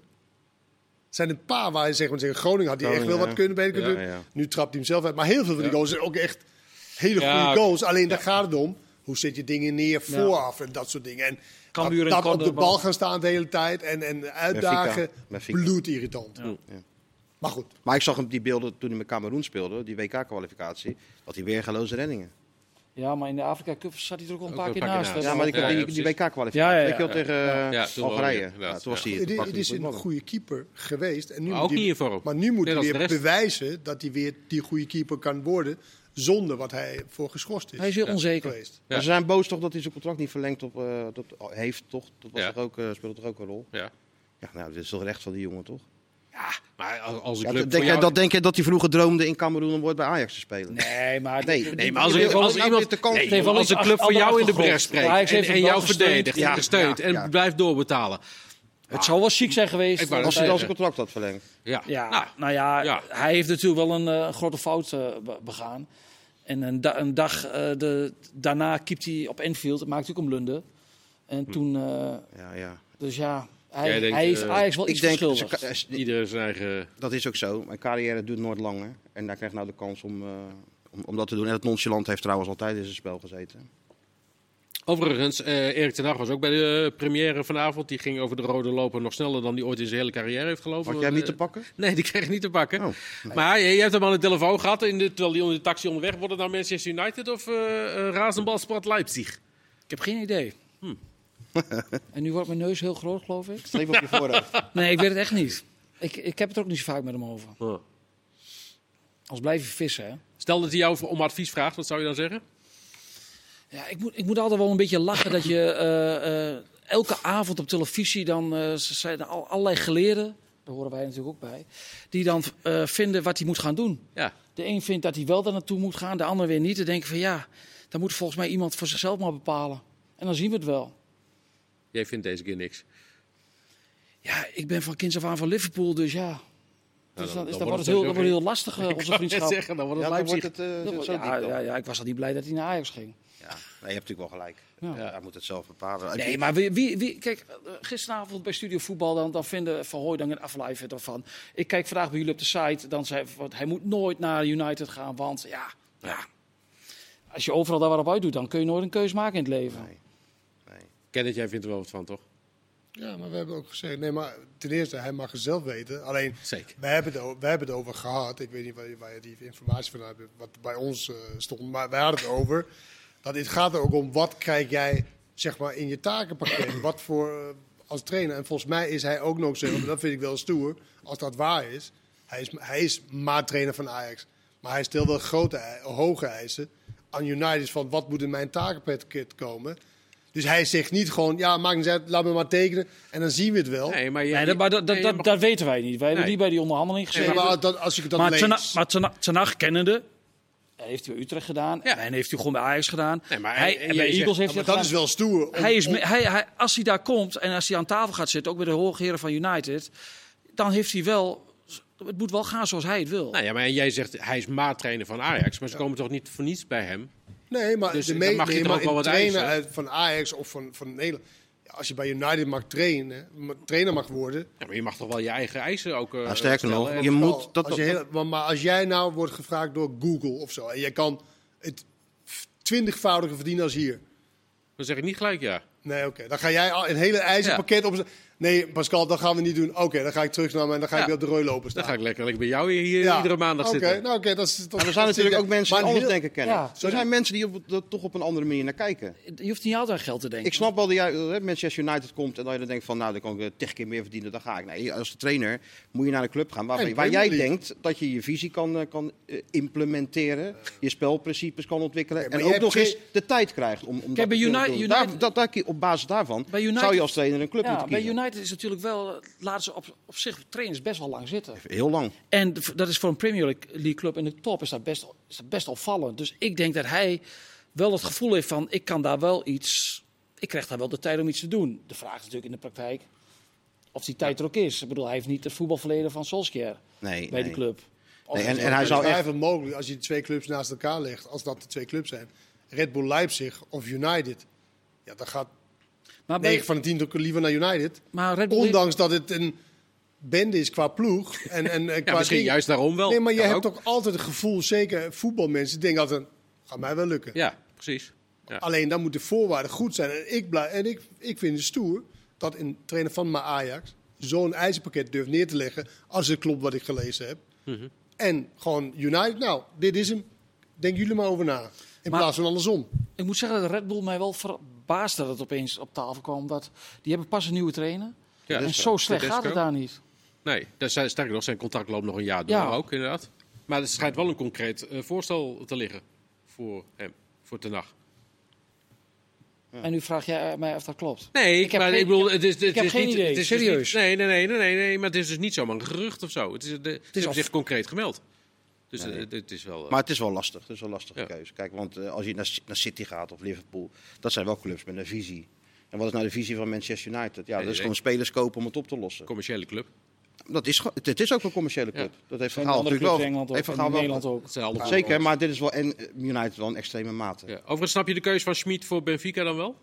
Speaker 3: zijn een paar waar je zegt, want zeggen, Groningen had hij echt wel wat
Speaker 4: Groningen, ja.
Speaker 3: kunnen, beter kunnen
Speaker 4: Ja,
Speaker 3: doen.
Speaker 4: ja.
Speaker 3: Nu trapt hij hem zelf uit. Maar heel veel van die
Speaker 1: Ja.
Speaker 3: goals zijn ook echt hele
Speaker 1: Ja,
Speaker 3: goede
Speaker 1: oké.
Speaker 3: goals. Alleen daar gaat het om. Hoe zet je dingen neer vooraf en dat soort dingen. En
Speaker 2: Cambuur en
Speaker 3: dat, dat op de
Speaker 2: Cordoba.
Speaker 3: bal gaan staan de hele tijd en, en uitdagen.
Speaker 4: Benfica.
Speaker 3: Bloedirritant. Maar goed,
Speaker 4: Maar ik zag hem die beelden toen hij met Cameroen speelde, die WK-kwalificatie, dat hij weer geloze reddingen.
Speaker 2: Ja, maar in de Afrika Cup zat hij er ook wel een
Speaker 1: Ook
Speaker 2: paar
Speaker 1: een
Speaker 2: keer
Speaker 1: paar keer
Speaker 2: naast.
Speaker 1: naast.
Speaker 2: hè. eh,
Speaker 4: Ja, maar
Speaker 1: Ja,
Speaker 4: die,
Speaker 1: ja,
Speaker 4: die, die
Speaker 1: precies.
Speaker 4: WK-kwalificatie,
Speaker 2: Ja, ja, ja.
Speaker 4: weet je wel, tegen eh,
Speaker 1: Ja, toen wel,
Speaker 4: Algerije.
Speaker 1: inderdaad,
Speaker 4: Ja, toen was
Speaker 1: ja.
Speaker 4: hij
Speaker 3: het,
Speaker 4: toen
Speaker 3: is- het
Speaker 4: pakte hij
Speaker 3: is
Speaker 4: goed
Speaker 3: een
Speaker 4: mannen.
Speaker 3: goede keeper geweest. En nu
Speaker 1: Maar
Speaker 3: moet
Speaker 1: ook
Speaker 3: hij-
Speaker 1: niet in vorm.
Speaker 3: Maar nu moet
Speaker 1: Net
Speaker 3: hij
Speaker 1: als de
Speaker 3: weer
Speaker 1: rest.
Speaker 3: bewijzen dat hij weer die goede keeper kan worden. zonder wat hij voor geschorst is,
Speaker 2: Hij is heel onzeker.
Speaker 3: geweest.
Speaker 1: Ja.
Speaker 4: Maar ze zijn boos toch dat hij zijn contract niet verlengd op, eh, dat, heeft, toch? Dat was
Speaker 1: Ja.
Speaker 4: toch ook, eh, speelde toch ook een rol?
Speaker 1: Ja.
Speaker 4: Ja, nou, dat is toch recht van die jongen, toch?
Speaker 1: Maar als- als een
Speaker 4: Ja,
Speaker 1: club
Speaker 4: denk
Speaker 1: voor
Speaker 4: jij,
Speaker 1: jou-
Speaker 4: dat denk je dat hij vroeger droomde in Cameroen om ooit bij Ajax te spelen?
Speaker 2: Nee, maar...
Speaker 4: Nee,
Speaker 1: Nee, maar als,
Speaker 4: Ik
Speaker 1: er-
Speaker 4: bedoel,
Speaker 1: als
Speaker 4: nou
Speaker 1: iemand
Speaker 4: dit de kans-
Speaker 1: nee,
Speaker 2: heeft wel
Speaker 1: als
Speaker 2: iets
Speaker 1: een club
Speaker 2: achter-
Speaker 1: voor jou in de bres
Speaker 2: andere achtergrond.
Speaker 1: spreekt
Speaker 2: Ja, hij heeft
Speaker 1: en,
Speaker 2: even
Speaker 1: en
Speaker 2: wel
Speaker 1: jou
Speaker 2: gesteund.
Speaker 1: verdedigt en
Speaker 4: Ja,
Speaker 1: gesteunt
Speaker 4: ja,
Speaker 1: en
Speaker 4: ja.
Speaker 1: blijft doorbetalen.
Speaker 2: Het zou wel chic zijn geweest.
Speaker 1: Ik wou
Speaker 4: Als
Speaker 2: dat
Speaker 4: hij
Speaker 1: zeggen.
Speaker 4: dan zijn contract had verlengd.
Speaker 1: Ja,
Speaker 2: Ja,
Speaker 1: Nou,
Speaker 2: nou, ja,
Speaker 1: ja.
Speaker 2: hij heeft natuurlijk wel een eh, grote fout eh, be- begaan. En een, da- een dag eh, de, daarna kiept hij op Enfield, maakt natuurlijk om Lunde. En toen, eh,
Speaker 4: Ja, ja.
Speaker 2: dus ja,
Speaker 1: Hm. Jij
Speaker 2: hij,
Speaker 1: denkt,
Speaker 2: hij heeft
Speaker 1: eh,
Speaker 2: Ajax wel
Speaker 4: Ik
Speaker 2: iets
Speaker 4: denk,
Speaker 2: verschuldigd.
Speaker 4: ze- eh,
Speaker 1: iedereen Nou, zijn eigen...
Speaker 4: Dat is ook zo. Mijn carrière duurt nooit langer. En daar krijg je nou de kans om, eh, om, om dat te doen. En het nonchalant heeft trouwens altijd in zijn spel gezeten.
Speaker 1: Overigens, eh, Erik ten Hag was ook bij de eh, première vanavond. Die ging over de rode loper nog sneller dan die ooit in zijn hele carrière heeft gelopen.
Speaker 4: Had jij hem
Speaker 1: Want,
Speaker 4: niet
Speaker 1: eh,
Speaker 4: te pakken?
Speaker 1: Nee, die kreeg ik niet te pakken.
Speaker 4: Oh.
Speaker 1: Maar eh, je, je hebt hem aan de telefoon gehad, in de, terwijl hij onder de taxi onderweg wordt naar Manchester United of eh eh, Razenbalsport Leipzig.
Speaker 2: Ik heb geen idee. Hm. en nu wordt mijn neus heel groot, geloof ik.
Speaker 4: Streep op je voorhoofd.
Speaker 2: Nee, ik weet het echt niet. Ik, ik heb het ook niet zo vaak met hem over. Als blijf je vissen, hè.
Speaker 1: Stel dat hij jou voor- om advies vraagt, wat zou je dan zeggen?
Speaker 2: Ja, ik moet, ik moet altijd wel een beetje lachen dat je eh, eh, elke avond op televisie dan eh, ze zijn al, allerlei geleerden, daar horen wij natuurlijk ook bij, die dan eh, vinden wat hij moet gaan doen.
Speaker 1: Ja,
Speaker 2: De een vindt dat hij wel daar naartoe moet gaan, de ander weer niet. Dan denk ik van ja, dan moet volgens mij iemand voor zichzelf maar bepalen. En dan zien we het wel.
Speaker 1: jij vindt deze keer niks.
Speaker 2: Ja, ik ben van kinds af aan van Liverpool, dus ja.
Speaker 1: dan-
Speaker 2: Dus dan,
Speaker 1: dan
Speaker 2: is dan
Speaker 1: wordt
Speaker 2: wordt
Speaker 1: het
Speaker 2: het heel,
Speaker 1: sowieso
Speaker 2: dan wordt het heel lastig, eh, onze vriendschap.
Speaker 1: zeggen, dan wordt
Speaker 4: Ja,
Speaker 1: het
Speaker 4: dan wordt
Speaker 1: Leipzig.
Speaker 4: het eh, zo, zo diep
Speaker 2: Ja,
Speaker 4: dan.
Speaker 2: ja, ja, ik was al niet blij dat hij naar Ajax ging.
Speaker 4: Ja, nee, je hebt natuurlijk wel gelijk.
Speaker 2: Ja.
Speaker 4: Ja. Hij moet het zelf bepalen.
Speaker 2: Nee, maar wie, wie, wie, kijk, eh, gisteravond bij Studio Voetbal, dan, dan vinden Van Hooijdonk en Aflijven ervan. Ik kijk vandaag bij jullie op de site, dan zei wat, hij moet nooit naar United gaan, want ja, ja. Als je overal daar wat op uit doet, dan kun je nooit een keus maken in het leven.
Speaker 4: Nee. Nee.
Speaker 1: Kenneth, jij vindt er wel wat van, toch?
Speaker 3: Ja, maar we hebben ook gezegd. Nee, maar ten eerste, hij mag het zelf weten. Alleen,
Speaker 1: Zeker.
Speaker 3: we hebben het, o- wij hebben het over gehad. Ik weet niet waar, je- waar je die informatie van hebt, wat bij ons eh, stond. Maar wij hadden het over. Dat dit gaat er ook om wat krijg jij zeg maar, in je takenpakket. wat voor eh, als trainer. En volgens mij is hij ook nog zo. maar Dat vind ik wel stoer. Als dat waar is. Hij is, hij is maar trainer van Ajax. Maar hij stelt wel grote, ei- hoge eisen aan United. Van wat moet in mijn takenpakket komen. Dus hij zegt niet gewoon, ja, maak niet uit, laat me maar tekenen en dan zien we het wel.
Speaker 1: Nee, maar, jij,
Speaker 2: Nee, dat, maar dat, dat,
Speaker 1: nee,
Speaker 2: dat,
Speaker 1: maar-
Speaker 2: dat weten wij niet. Wij hebben
Speaker 1: Nee.
Speaker 2: niet bij die onderhandeling
Speaker 3: Nee,
Speaker 2: gezeten.
Speaker 3: maar dat, als ik dat
Speaker 2: maar
Speaker 3: lees...
Speaker 2: Tena- maar Tena- Tenag kennende, hij heeft hij bij Utrecht gedaan
Speaker 1: Ja.
Speaker 2: en heeft hij gewoon bij Ajax gedaan.
Speaker 1: Nee, maar
Speaker 2: hij,
Speaker 1: en- en
Speaker 2: en
Speaker 1: jij
Speaker 2: bij Eagles
Speaker 1: zegt-
Speaker 2: heeft hij
Speaker 3: Ja, maar
Speaker 2: het gedaan.
Speaker 3: dat is wel stoer. om-
Speaker 2: Hij is,
Speaker 3: om-
Speaker 2: me- hij, hij, als hij daar komt en als hij aan tafel gaat zitten, ook bij de hoogheren van United, dan heeft hij wel. Het moet wel gaan zoals hij het wil.
Speaker 1: Nou ja, maar jij zegt hij is maattrainer van Ajax, maar ze komen toch niet voor niets bij hem?
Speaker 3: nee, maar
Speaker 1: Dus
Speaker 3: de
Speaker 1: dan
Speaker 3: me-
Speaker 1: mag je
Speaker 3: nee,
Speaker 1: er
Speaker 3: maar
Speaker 1: ook wel
Speaker 3: een
Speaker 1: wat
Speaker 3: trainer
Speaker 1: eisen.
Speaker 3: uit- van Ajax of van, van Nederland... Ja, als je bij United mag trainen, ma- trainer mag worden...
Speaker 1: Ja, maar je mag toch wel je eigen eisen ook. eh,
Speaker 4: Nou, sterker
Speaker 1: stellen
Speaker 4: nog,
Speaker 1: en-
Speaker 4: je
Speaker 3: wel,
Speaker 4: moet... Dat,
Speaker 3: als je heel- maar, maar als jij nou wordt gevraagd door Google of zo... en jij kan het v- twintigvoudige verdienen als hier...
Speaker 1: Dan zeg ik niet gelijk ja.
Speaker 3: Nee, oké. Dan ga jij al een hele ijzerpakket op. Nee, Pascal, dat gaan we niet doen. Oké, dan ga ik terug naar me en dan ga
Speaker 1: Ja.
Speaker 3: ik weer op de rooi lopen
Speaker 1: Dan
Speaker 3: staan.
Speaker 1: ga ik lekker, lekker bij jou hier, hier
Speaker 3: Ja.
Speaker 1: iedere maandag
Speaker 3: Oké,
Speaker 1: zitten.
Speaker 3: Nou, oké, dat is dat-
Speaker 4: Maar er zijn
Speaker 3: dat
Speaker 4: natuurlijk
Speaker 3: zit-
Speaker 4: ook mensen die
Speaker 3: maar
Speaker 4: anders
Speaker 3: heel-
Speaker 4: denken kennen.
Speaker 2: Ja.
Speaker 4: Er zijn mensen die op, dat toch op een andere manier naar kijken.
Speaker 2: Je hoeft niet altijd aan geld te denken.
Speaker 4: Ik snap wel dat jij hè, Manchester United komt en dat je dan denkt van nou, dan kan ik eh, tig keer meer verdienen, dan ga ik. Nee, als trainer moet je naar een club gaan waar,
Speaker 3: En
Speaker 4: waar
Speaker 3: Premier
Speaker 4: jij
Speaker 3: League.
Speaker 4: denkt dat je je visie kan, eh, kan eh, implementeren, je spelprincipes kan ontwikkelen
Speaker 3: Ja, maar
Speaker 4: en
Speaker 3: je
Speaker 4: ook
Speaker 3: hebt
Speaker 4: nog
Speaker 3: twee-
Speaker 4: eens de tijd krijgt om, om
Speaker 2: Kijk,
Speaker 4: dat
Speaker 2: bij
Speaker 4: te kunnen
Speaker 2: Uni-
Speaker 4: doen.
Speaker 2: United-
Speaker 4: Daar- dat, daar- op basis daarvan
Speaker 2: Bij United-
Speaker 4: zou je als trainer een club
Speaker 2: Ja,
Speaker 4: moeten
Speaker 2: bij
Speaker 4: kiezen.
Speaker 2: United is natuurlijk wel, laten ze op, op zich trainers best wel lang zitten.
Speaker 4: Heel lang.
Speaker 2: En de- dat is voor een Premier League- League club in de top is dat, best, is dat best opvallend. Dus ik denk dat hij wel het gevoel heeft van ik kan daar wel iets. Ik krijg daar wel de tijd om iets te doen. De vraag is natuurlijk in de praktijk of die tijd er ook is. Ik bedoel, hij heeft niet het voetbalverleden van Solskjaer
Speaker 4: Nee,
Speaker 2: bij
Speaker 4: nee.
Speaker 2: die club. Of-
Speaker 4: Nee, en, en hij
Speaker 3: Het
Speaker 4: zou
Speaker 3: is
Speaker 4: echt...
Speaker 3: twijfel mogelijk als je die twee clubs naast elkaar legt, als dat de twee clubs zijn. Red Bull Leipzig of United. Ja, dan gaat
Speaker 2: maar, bij-
Speaker 3: 9 van de 10 toch liever naar United.
Speaker 2: maar Red Bull,
Speaker 3: Ondanks dat het een bende is qua ploeg. En, en, eh,
Speaker 1: Ja,
Speaker 3: qua
Speaker 1: misschien
Speaker 3: dingen.
Speaker 1: juist daarom wel.
Speaker 3: Nee, maar je
Speaker 1: Kan
Speaker 3: hebt
Speaker 1: ook.
Speaker 3: toch altijd het gevoel, zeker voetbalmensen, die denken altijd, gaat mij wel lukken.
Speaker 1: Ja, precies. Ja.
Speaker 3: Alleen dan moeten de voorwaarden goed zijn. En ik, blij, en ik, ik vind het stoer dat een trainer van mijn Ajax zo'n ijzerpakket durft neer te leggen. Als het klopt wat ik gelezen heb.
Speaker 1: Mhm.
Speaker 3: En gewoon United, nou, dit is hem. Denk jullie maar over na. In
Speaker 2: Maar-
Speaker 3: plaats van andersom.
Speaker 2: Ik moet zeggen dat Red Bull mij wel verbaasde dat het opeens op tafel kwam. Dat, die hebben pas een nieuwe trainer.
Speaker 1: Ja,
Speaker 2: en zo slecht
Speaker 1: Tedesco.
Speaker 2: gaat het daar niet.
Speaker 1: Nee, daar zijn, sterker nog, zijn contract loopt nog een jaar door
Speaker 2: Ja.
Speaker 1: ook, inderdaad. Maar er schijnt wel een concreet eh, voorstel te liggen voor hem, voor Ten Hag.
Speaker 2: En nu vraag jij mij of dat klopt.
Speaker 1: Nee,
Speaker 2: Ik heb
Speaker 1: maar
Speaker 2: geen-
Speaker 1: ik bedoel, het is, het
Speaker 2: heb
Speaker 1: is
Speaker 2: geen
Speaker 1: niet,
Speaker 2: idee,
Speaker 1: het is dus
Speaker 2: serieus.
Speaker 1: niet- nee, nee, nee, nee, nee, nee, maar het is dus niet zomaar een gerucht of zo. Het is, de, het is
Speaker 2: al-
Speaker 1: zich concreet gemeld. Dus eh, het, is wel. eh,
Speaker 4: Maar het is wel lastig. Het is wel een lastige
Speaker 1: Ja.
Speaker 4: keuze. Kijk, want eh, als je naar, C- naar City gaat of Liverpool, dat zijn wel clubs met een visie. En wat is nou de visie van Manchester United? Ja, dat
Speaker 1: idee.
Speaker 4: is gewoon spelers kopen om het op te lossen.
Speaker 1: commerciële club.
Speaker 4: Dat is, ge- het is ook een commerciële club.
Speaker 1: Ja.
Speaker 4: Dat heeft
Speaker 2: En
Speaker 4: Van Gaal
Speaker 2: andere
Speaker 4: natuurlijk
Speaker 2: clubs
Speaker 4: wel.
Speaker 2: in Engeland ook.
Speaker 4: heeft Van
Speaker 2: en
Speaker 4: Gaal
Speaker 2: in
Speaker 4: wel-
Speaker 2: Nederland ook.
Speaker 1: Het zijn allemaal
Speaker 4: Zeker, maar dit is wel en eh, United wel een extreme mate.
Speaker 1: Ja. Overigens snap je de keuze van Schmid voor Benfica dan wel?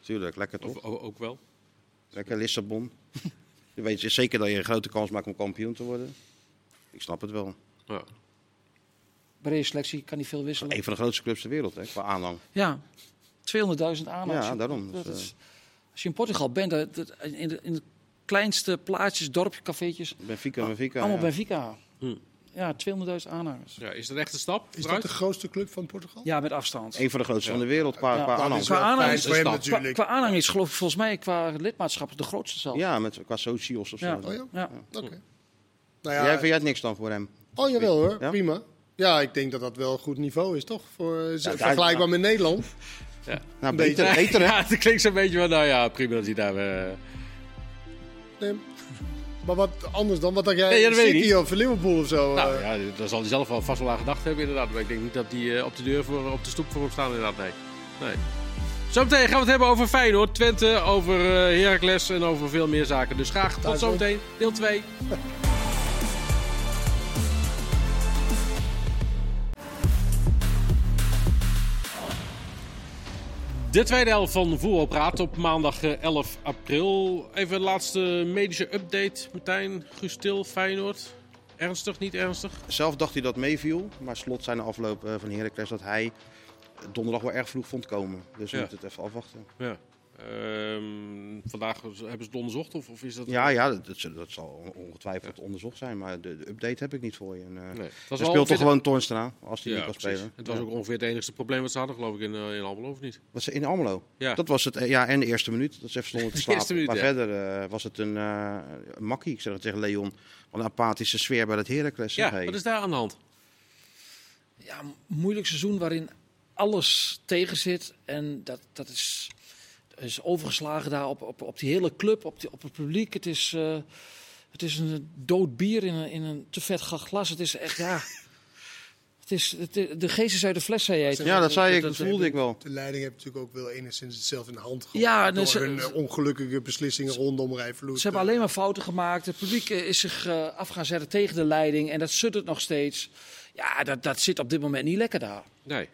Speaker 4: Tuurlijk, lekker toch?
Speaker 1: Of o- ook wel?
Speaker 4: Lekker Lissabon. je weet zeker dat je een grote kans maakt om kampioen te worden. Ik snap het wel.
Speaker 1: Ja.
Speaker 2: Brede selectie kan niet veel wisselen.
Speaker 4: Een van de grootste clubs ter wereld, hè, qua aanhang.
Speaker 2: Ja, 200.000 aanhangers.
Speaker 4: Ja, daarom.
Speaker 2: Dat
Speaker 4: Dus,
Speaker 2: is- als je in Portugal bent, dat, dat- in, de, in de kleinste plaatsjes, dorpjes, cafeetjes,
Speaker 4: Benfica, Benfica.
Speaker 2: allemaal
Speaker 4: ja.
Speaker 2: Benfica. Ja, 200.000 aanhangers.
Speaker 1: Ja, is dat echt een stap?
Speaker 3: Is dat
Speaker 1: vooruit?
Speaker 3: de grootste club van Portugal?
Speaker 2: Ja, met afstand.
Speaker 4: Een van de grootste van de wereld qua,
Speaker 2: Ja.
Speaker 4: qua
Speaker 2: Dat
Speaker 4: aanhang.
Speaker 3: is
Speaker 2: Qua
Speaker 3: wel
Speaker 2: aanhang
Speaker 3: fijn
Speaker 1: is
Speaker 3: voor
Speaker 1: een
Speaker 3: hem
Speaker 1: stap.
Speaker 2: Qua,
Speaker 3: natuurlijk.
Speaker 2: qua aanhang is geloof ik volgens mij qua lidmaatschap de grootste zelf.
Speaker 4: Ja, met, qua socios of zo.
Speaker 2: Ja.
Speaker 3: Oh ja?
Speaker 2: Ja.
Speaker 3: Oké. Nou ja,
Speaker 4: Jij vindt jij het niks dan voor hem?
Speaker 3: oh jawel hoor,
Speaker 4: Ja?
Speaker 3: prima. Ja, ik denk dat dat wel een goed niveau is, toch? Voor, eh, z-
Speaker 4: daar-
Speaker 3: vergelijkbaar met Nederland.
Speaker 4: Nou,
Speaker 3: Nee.
Speaker 4: beter, beter hè?
Speaker 1: ja, het klinkt zo'n beetje van, nou ja, prima dat hij daar... eh,
Speaker 3: Nee, maar wat anders dan? Wat dat jij
Speaker 1: Nee, ja, dat weet ik
Speaker 3: City
Speaker 1: niet.
Speaker 3: of Liverpool of zo?
Speaker 1: Nou
Speaker 3: eh,
Speaker 1: ja, daar zal hij zelf wel vast wel aan gedacht hebben inderdaad. Maar ik denk niet dat die eh, op de deur voor, op de stoep voor hem staan inderdaad, nee. nee. Zometeen gaan we het hebben over Feyenoord, Twente, over eh, Heracles en over veel meer zaken. Dus graag tot
Speaker 3: Duitsland.
Speaker 1: zometeen, deel 2. De tweede helft van Voetbalpraat op maandag eh, 11 april. Even een laatste medische update. Martijn, Gustil, Feyenoord. Ernstig, niet ernstig?
Speaker 4: Zelf dacht hij dat meeviel, maar slot zijn de afloop eh, van Heracles dat hij donderdag wel erg vroeg vond komen. Dus we
Speaker 1: Ja.
Speaker 4: moeten het even afwachten.
Speaker 1: Ja. Ehm, vandaag was- hebben ze het onderzocht of, of is dat...
Speaker 4: Ja, ja dat, dat, dat zal ongetwijfeld onderzocht zijn, maar de, de update heb ik niet voor je. En, eh,
Speaker 1: Nee, het
Speaker 4: er
Speaker 1: wel
Speaker 4: speelt
Speaker 1: ongeveer-
Speaker 4: toch gewoon Toornstra, als die
Speaker 1: Ja,
Speaker 4: niet kan
Speaker 1: precies.
Speaker 4: spelen.
Speaker 1: Het was
Speaker 4: Ja.
Speaker 1: ook ongeveer het enigste probleem wat ze hadden, geloof ik, in, eh, in Almelo, of niet?
Speaker 4: Wat ze in Almelo.
Speaker 1: Ja.
Speaker 4: Dat was het, eh, ja, en de eerste minuut. Dat ze even stonden te
Speaker 1: De
Speaker 4: slapen.
Speaker 1: eerste minuut,
Speaker 4: maar
Speaker 1: ja.
Speaker 4: verder eh, was het een, eh, een makkie, ik zeg het tegen Leon. Wat een apathische sfeer bij dat Heracles. zeg,
Speaker 1: Ja,
Speaker 4: hé.
Speaker 1: wat is daar aan de hand?
Speaker 2: ja, een moeilijk seizoen waarin alles tegen zit. En dat, dat is, is overgeslagen daar op, op, op die hele club, op, die, op het publiek. Het is, eh, het is een dood bier in een, in een te vet glas. Het is echt, ja... Het is, het, de geest is uit de fles, zei jij.
Speaker 4: ja, dat zei ik,
Speaker 1: dat-
Speaker 4: dat voelde ik wel.
Speaker 3: De leiding heeft natuurlijk ook wel enigszins het zelf in de hand gehad.
Speaker 2: Ja,
Speaker 3: door
Speaker 2: dus-
Speaker 3: hun eh, ongelukkige beslissingen rondom eh, Rijvloed.
Speaker 2: Ze hebben alleen maar fouten gemaakt. Het publiek eh, is zich eh, af gaan zetten tegen de leiding. En dat suddert nog steeds. Ja, dat, dat zit op dit moment niet lekker daar.
Speaker 1: Nee.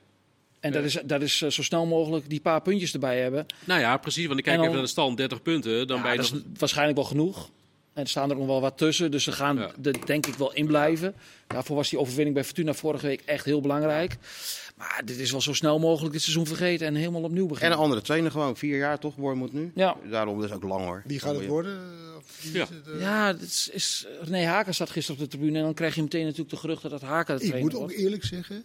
Speaker 2: En dat is, dat is eh, zo snel mogelijk die paar puntjes erbij hebben.
Speaker 1: Nou ja, precies, want ik kijk
Speaker 2: En dan-
Speaker 1: even naar de stand, 30 punten, dan
Speaker 2: Ja,
Speaker 1: ben je
Speaker 2: dat is
Speaker 1: nog-
Speaker 2: waarschijnlijk wel genoeg. En er staan er nog wel wat tussen. Dus ze gaan
Speaker 1: Ja.
Speaker 2: er denk ik wel in blijven. Daarvoor was die overwinning bij Fortuna vorige week echt heel belangrijk. Maar dit is wel zo snel mogelijk dit seizoen vergeten en helemaal opnieuw
Speaker 4: En
Speaker 2: beginnen.
Speaker 4: een andere trainer gewoon. Vier jaar toch, Wormoed nu.
Speaker 2: Ja.
Speaker 4: Daarom dus ook lang hoor.
Speaker 3: Wie gaat het worden? Eh, Of wie
Speaker 1: Ja.
Speaker 3: is het, eh?
Speaker 2: Ja, dit is, is, René Haken zat gisteren op de tribune. En dan krijg je meteen natuurlijk de geruchten dat Haken de
Speaker 3: Ik moet
Speaker 2: trainer
Speaker 3: ook
Speaker 2: wordt.
Speaker 3: eerlijk zeggen,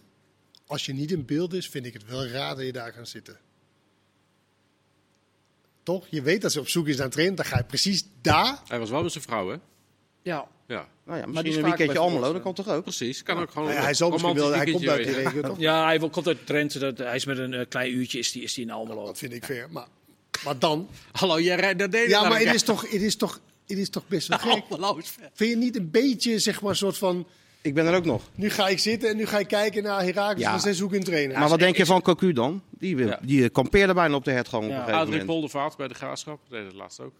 Speaker 3: als je niet in beeld is, vind ik het wel raar dat je daar gaat zitten. Toch? Je weet dat ze op zoek is naar een trainer, dan ga je precies daar.
Speaker 1: Hij was wel met zijn vrouw, hè?
Speaker 2: Ja,
Speaker 1: Ja,
Speaker 4: Nou ja,
Speaker 2: die
Speaker 4: misschien
Speaker 2: is
Speaker 4: een
Speaker 2: vaak
Speaker 4: weekendje
Speaker 2: bij
Speaker 4: Almelo, dat
Speaker 2: Fortuna.
Speaker 4: kan toch ook?
Speaker 1: precies. Kan ook gewoon
Speaker 3: Hij,
Speaker 1: een
Speaker 3: hij, zou misschien wel,
Speaker 1: romantisch
Speaker 3: hij komt uit die
Speaker 1: weekendje
Speaker 3: regio, toch?
Speaker 2: Ja, hij wil- komt uit Drenthe. Dat, hij is met een eh, klein uurtje is die, is die in Almelo.
Speaker 3: Dat vind ik fair. Maar, maar dan?
Speaker 1: weer. Hallo, jij rijdt naar Nederland.
Speaker 3: Ja, maar het is toch, het is toch, het is toch best wel gek.
Speaker 1: Almelo is ver.
Speaker 3: Vind je niet een beetje, zeg maar, soort van...
Speaker 4: Ik ben er ook nog.
Speaker 3: Nu ga ik zitten en nu ga ik kijken naar Herakles
Speaker 4: Ja.
Speaker 3: en zij zoeken een trainer.
Speaker 4: maar wat
Speaker 2: is-
Speaker 4: denk je van Cocu dan? Die, wil-
Speaker 1: Ja.
Speaker 4: die eh, kampeerde bijna op de hertgang op
Speaker 2: Ja.
Speaker 4: een gegeven
Speaker 1: Adrie
Speaker 4: moment.
Speaker 1: Poldervaart bij de Graafschap, dat deed het laatst ook.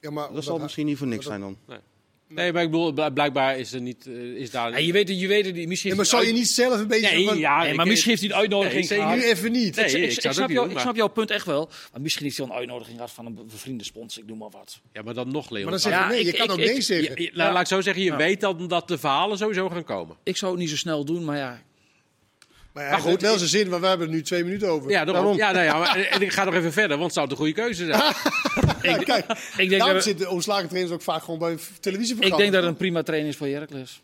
Speaker 3: Ja, maar
Speaker 4: Dat zal
Speaker 3: omdat-
Speaker 4: misschien niet voor niks
Speaker 3: dat-
Speaker 4: zijn dan.
Speaker 1: Nee, maar ik bedoel, bl- blijkbaar is er niet... eh, is daar...
Speaker 2: Ja, je weet het, je weet het niet. Misschien
Speaker 3: Ja,
Speaker 2: heeft
Speaker 3: maar zou
Speaker 2: hij
Speaker 3: je niet zelf een beetje...
Speaker 1: Nee,
Speaker 3: van-
Speaker 1: ja,
Speaker 2: Nee,
Speaker 1: ik-
Speaker 2: maar misschien heeft hij een
Speaker 1: Nee,
Speaker 2: uitnodiging
Speaker 1: zeker
Speaker 2: gehad.
Speaker 3: Nu even niet.
Speaker 1: Nee,
Speaker 2: ik,
Speaker 1: ik
Speaker 2: ik,
Speaker 1: zou het ook
Speaker 2: snap
Speaker 1: niet
Speaker 2: jou,
Speaker 1: doen,
Speaker 2: ik
Speaker 1: maar-
Speaker 2: snap jouw punt echt wel. Maar misschien heeft hij wel een uitnodiging gehad van een be- bevriende sponsor. Ik noem maar wat.
Speaker 1: Ja, maar dan nog, Leon.
Speaker 3: Maar dan zeg je nee, je kan ook nee zeggen.
Speaker 1: Ja, la- Laat ik zo zeggen, je weet dan dat de verhalen sowieso gaan komen.
Speaker 2: Ik zou het niet zo snel doen, maar ja.
Speaker 3: Maar ja,
Speaker 1: Maar
Speaker 3: hij
Speaker 1: goed,
Speaker 3: heeft wel
Speaker 1: ik-
Speaker 3: zijn zin, want we hebben er nu twee minuten over.
Speaker 1: Ja, daarom. Ja, nou ja, maar, en ik ga nog even verder, want het zou de goede keuze zijn.
Speaker 4: Ah.
Speaker 3: Ja, kijk,
Speaker 2: Ik denk,
Speaker 3: daarom
Speaker 2: dat,
Speaker 3: zitten ontslagen trainers ook vaak gewoon bij v-
Speaker 2: ik
Speaker 3: televisieprogramma's.
Speaker 2: denk dat het een prima trainer is voor Heracles.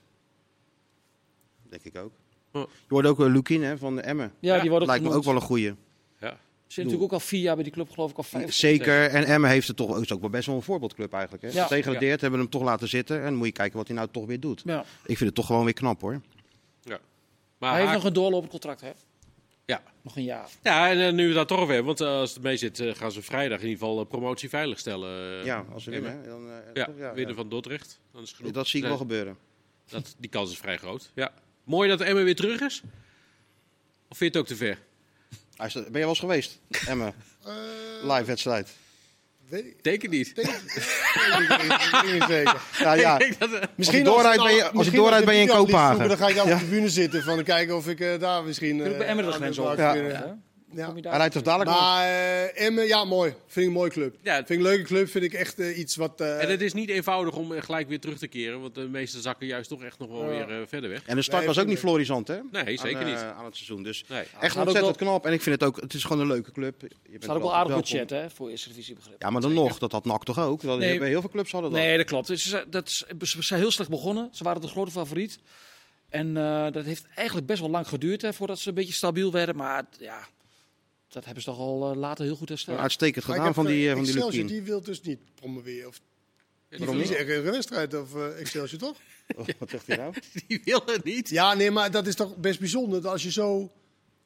Speaker 4: Denk ik ook.
Speaker 1: Ja.
Speaker 4: Je hoort ook Lukin Lukien hè, van de Emmen.
Speaker 2: Ja, die wordt ook
Speaker 4: Lijkt me
Speaker 2: genoemd.
Speaker 4: ook wel een goeie.
Speaker 1: Ja.
Speaker 2: Zit natuurlijk ook al vier jaar bij die club, geloof ik. Al vijf of zes jaar.
Speaker 4: Zeker. En Emmen heeft het toch is ook wel best wel een voorbeeldclub eigenlijk. Hè?
Speaker 2: Ja.
Speaker 4: Gedegradeerd, hebben hem toch laten zitten. En dan moet je kijken wat hij nou toch weer doet.
Speaker 2: Ja.
Speaker 4: Ik vind het toch gewoon weer knap hoor.
Speaker 1: Ja. Maar
Speaker 2: Hij heeft
Speaker 1: haar-
Speaker 2: nog een doorlopend contract, hè?
Speaker 1: ja.
Speaker 2: Nog een jaar.
Speaker 1: ja, en eh, nu we daar toch weer, want eh, als het mee zit, eh, gaan ze vrijdag in ieder geval eh, promotie veilig stellen. eh.
Speaker 4: ja, als ze
Speaker 1: Emmen.
Speaker 4: winnen. hè, Dan, eh,
Speaker 1: Ja,
Speaker 4: toch, ja,
Speaker 1: winnen
Speaker 4: ja.
Speaker 1: van Dordrecht. Dan is het genoeg.
Speaker 4: Dat zie ik
Speaker 1: Nee,
Speaker 4: wel gebeuren.
Speaker 1: dat, Die kans is vrij groot. Ja. Mooi dat Emmen weer terug is. Of vind je het ook te ver?
Speaker 4: Hij is- Ben je wel eens geweest, Emmen?
Speaker 3: Eh,
Speaker 4: Live wedstrijd.
Speaker 3: weet ik-
Speaker 1: Denk het niet.
Speaker 3: denk- weet ik niet zeker.
Speaker 4: Ja, ja.
Speaker 1: Ik denk dat, eh,
Speaker 4: je doorrijdt ben je- als je
Speaker 3: misschien
Speaker 4: doorrijdt
Speaker 3: de
Speaker 4: ben je in
Speaker 3: video ligt
Speaker 4: Kopenhagen.
Speaker 3: vroeger, Dan ga ik daar op de tribune zitten van kijken of ik eh, daar misschien...
Speaker 2: Natuurlijk bij Emmen de
Speaker 3: aan
Speaker 2: grens
Speaker 3: wil
Speaker 2: over.
Speaker 3: raken.
Speaker 4: Ja.
Speaker 3: Ja. Ja.
Speaker 2: Kom je daar?
Speaker 4: Hij rijdt toch dadelijk nog?
Speaker 3: Maar eh, Emmen, ja mooi. Vind ik een mooie club.
Speaker 1: Ja.
Speaker 3: Vind ik een leuke club. Vind ik echt eh, iets wat... eh,
Speaker 1: en het is niet eenvoudig om eh, gelijk weer terug te keren, want de meeste zakken juist toch echt nog wel
Speaker 3: Ja.
Speaker 1: weer eh, verder weg.
Speaker 4: En de start
Speaker 3: Nee,
Speaker 4: was ook niet
Speaker 3: vind ik-
Speaker 4: florisant, hè?
Speaker 1: Nee, zeker
Speaker 4: aan, eh,
Speaker 1: niet.
Speaker 4: Aan het seizoen. Dus
Speaker 1: Nee.
Speaker 4: echt
Speaker 2: ook
Speaker 4: ontzettend knap. En ik vind het ook, het is gewoon een leuke club. Je bent
Speaker 2: Er staat ook wel
Speaker 4: altijd
Speaker 2: aardig
Speaker 4: welkom.
Speaker 2: budget, hè? Voor eerste divisie begrip.
Speaker 4: Ja, maar dan nog, dat had NAC toch ook? Dat
Speaker 2: Nee.
Speaker 4: hebben- Heel veel clubs hadden dat.
Speaker 2: Nee, dat klopt. Ze, zijn- dat, is- ze zijn heel slecht begonnen. Ze waren de grote favoriet. En eh, dat heeft eigenlijk best wel lang geduurd hè, voordat ze een beetje stabiel werden. Maar ja, dat hebben ze toch al eh, later heel goed hersteld.
Speaker 4: Uitstekend
Speaker 3: maar ik
Speaker 4: gedaan
Speaker 3: heb,
Speaker 4: van
Speaker 3: eh,
Speaker 4: die, eh, van die
Speaker 3: Excelsior,
Speaker 4: Lukien.
Speaker 3: die wil dus niet promoveren. Of, die
Speaker 1: Waarom
Speaker 3: verliezen echt een wedstrijd of eh, Excelsior, toch?
Speaker 4: Oh, wat zegt hij nou?
Speaker 1: Die willen niet.
Speaker 3: Ja, nee, maar dat is toch best bijzonder. Dat als je zo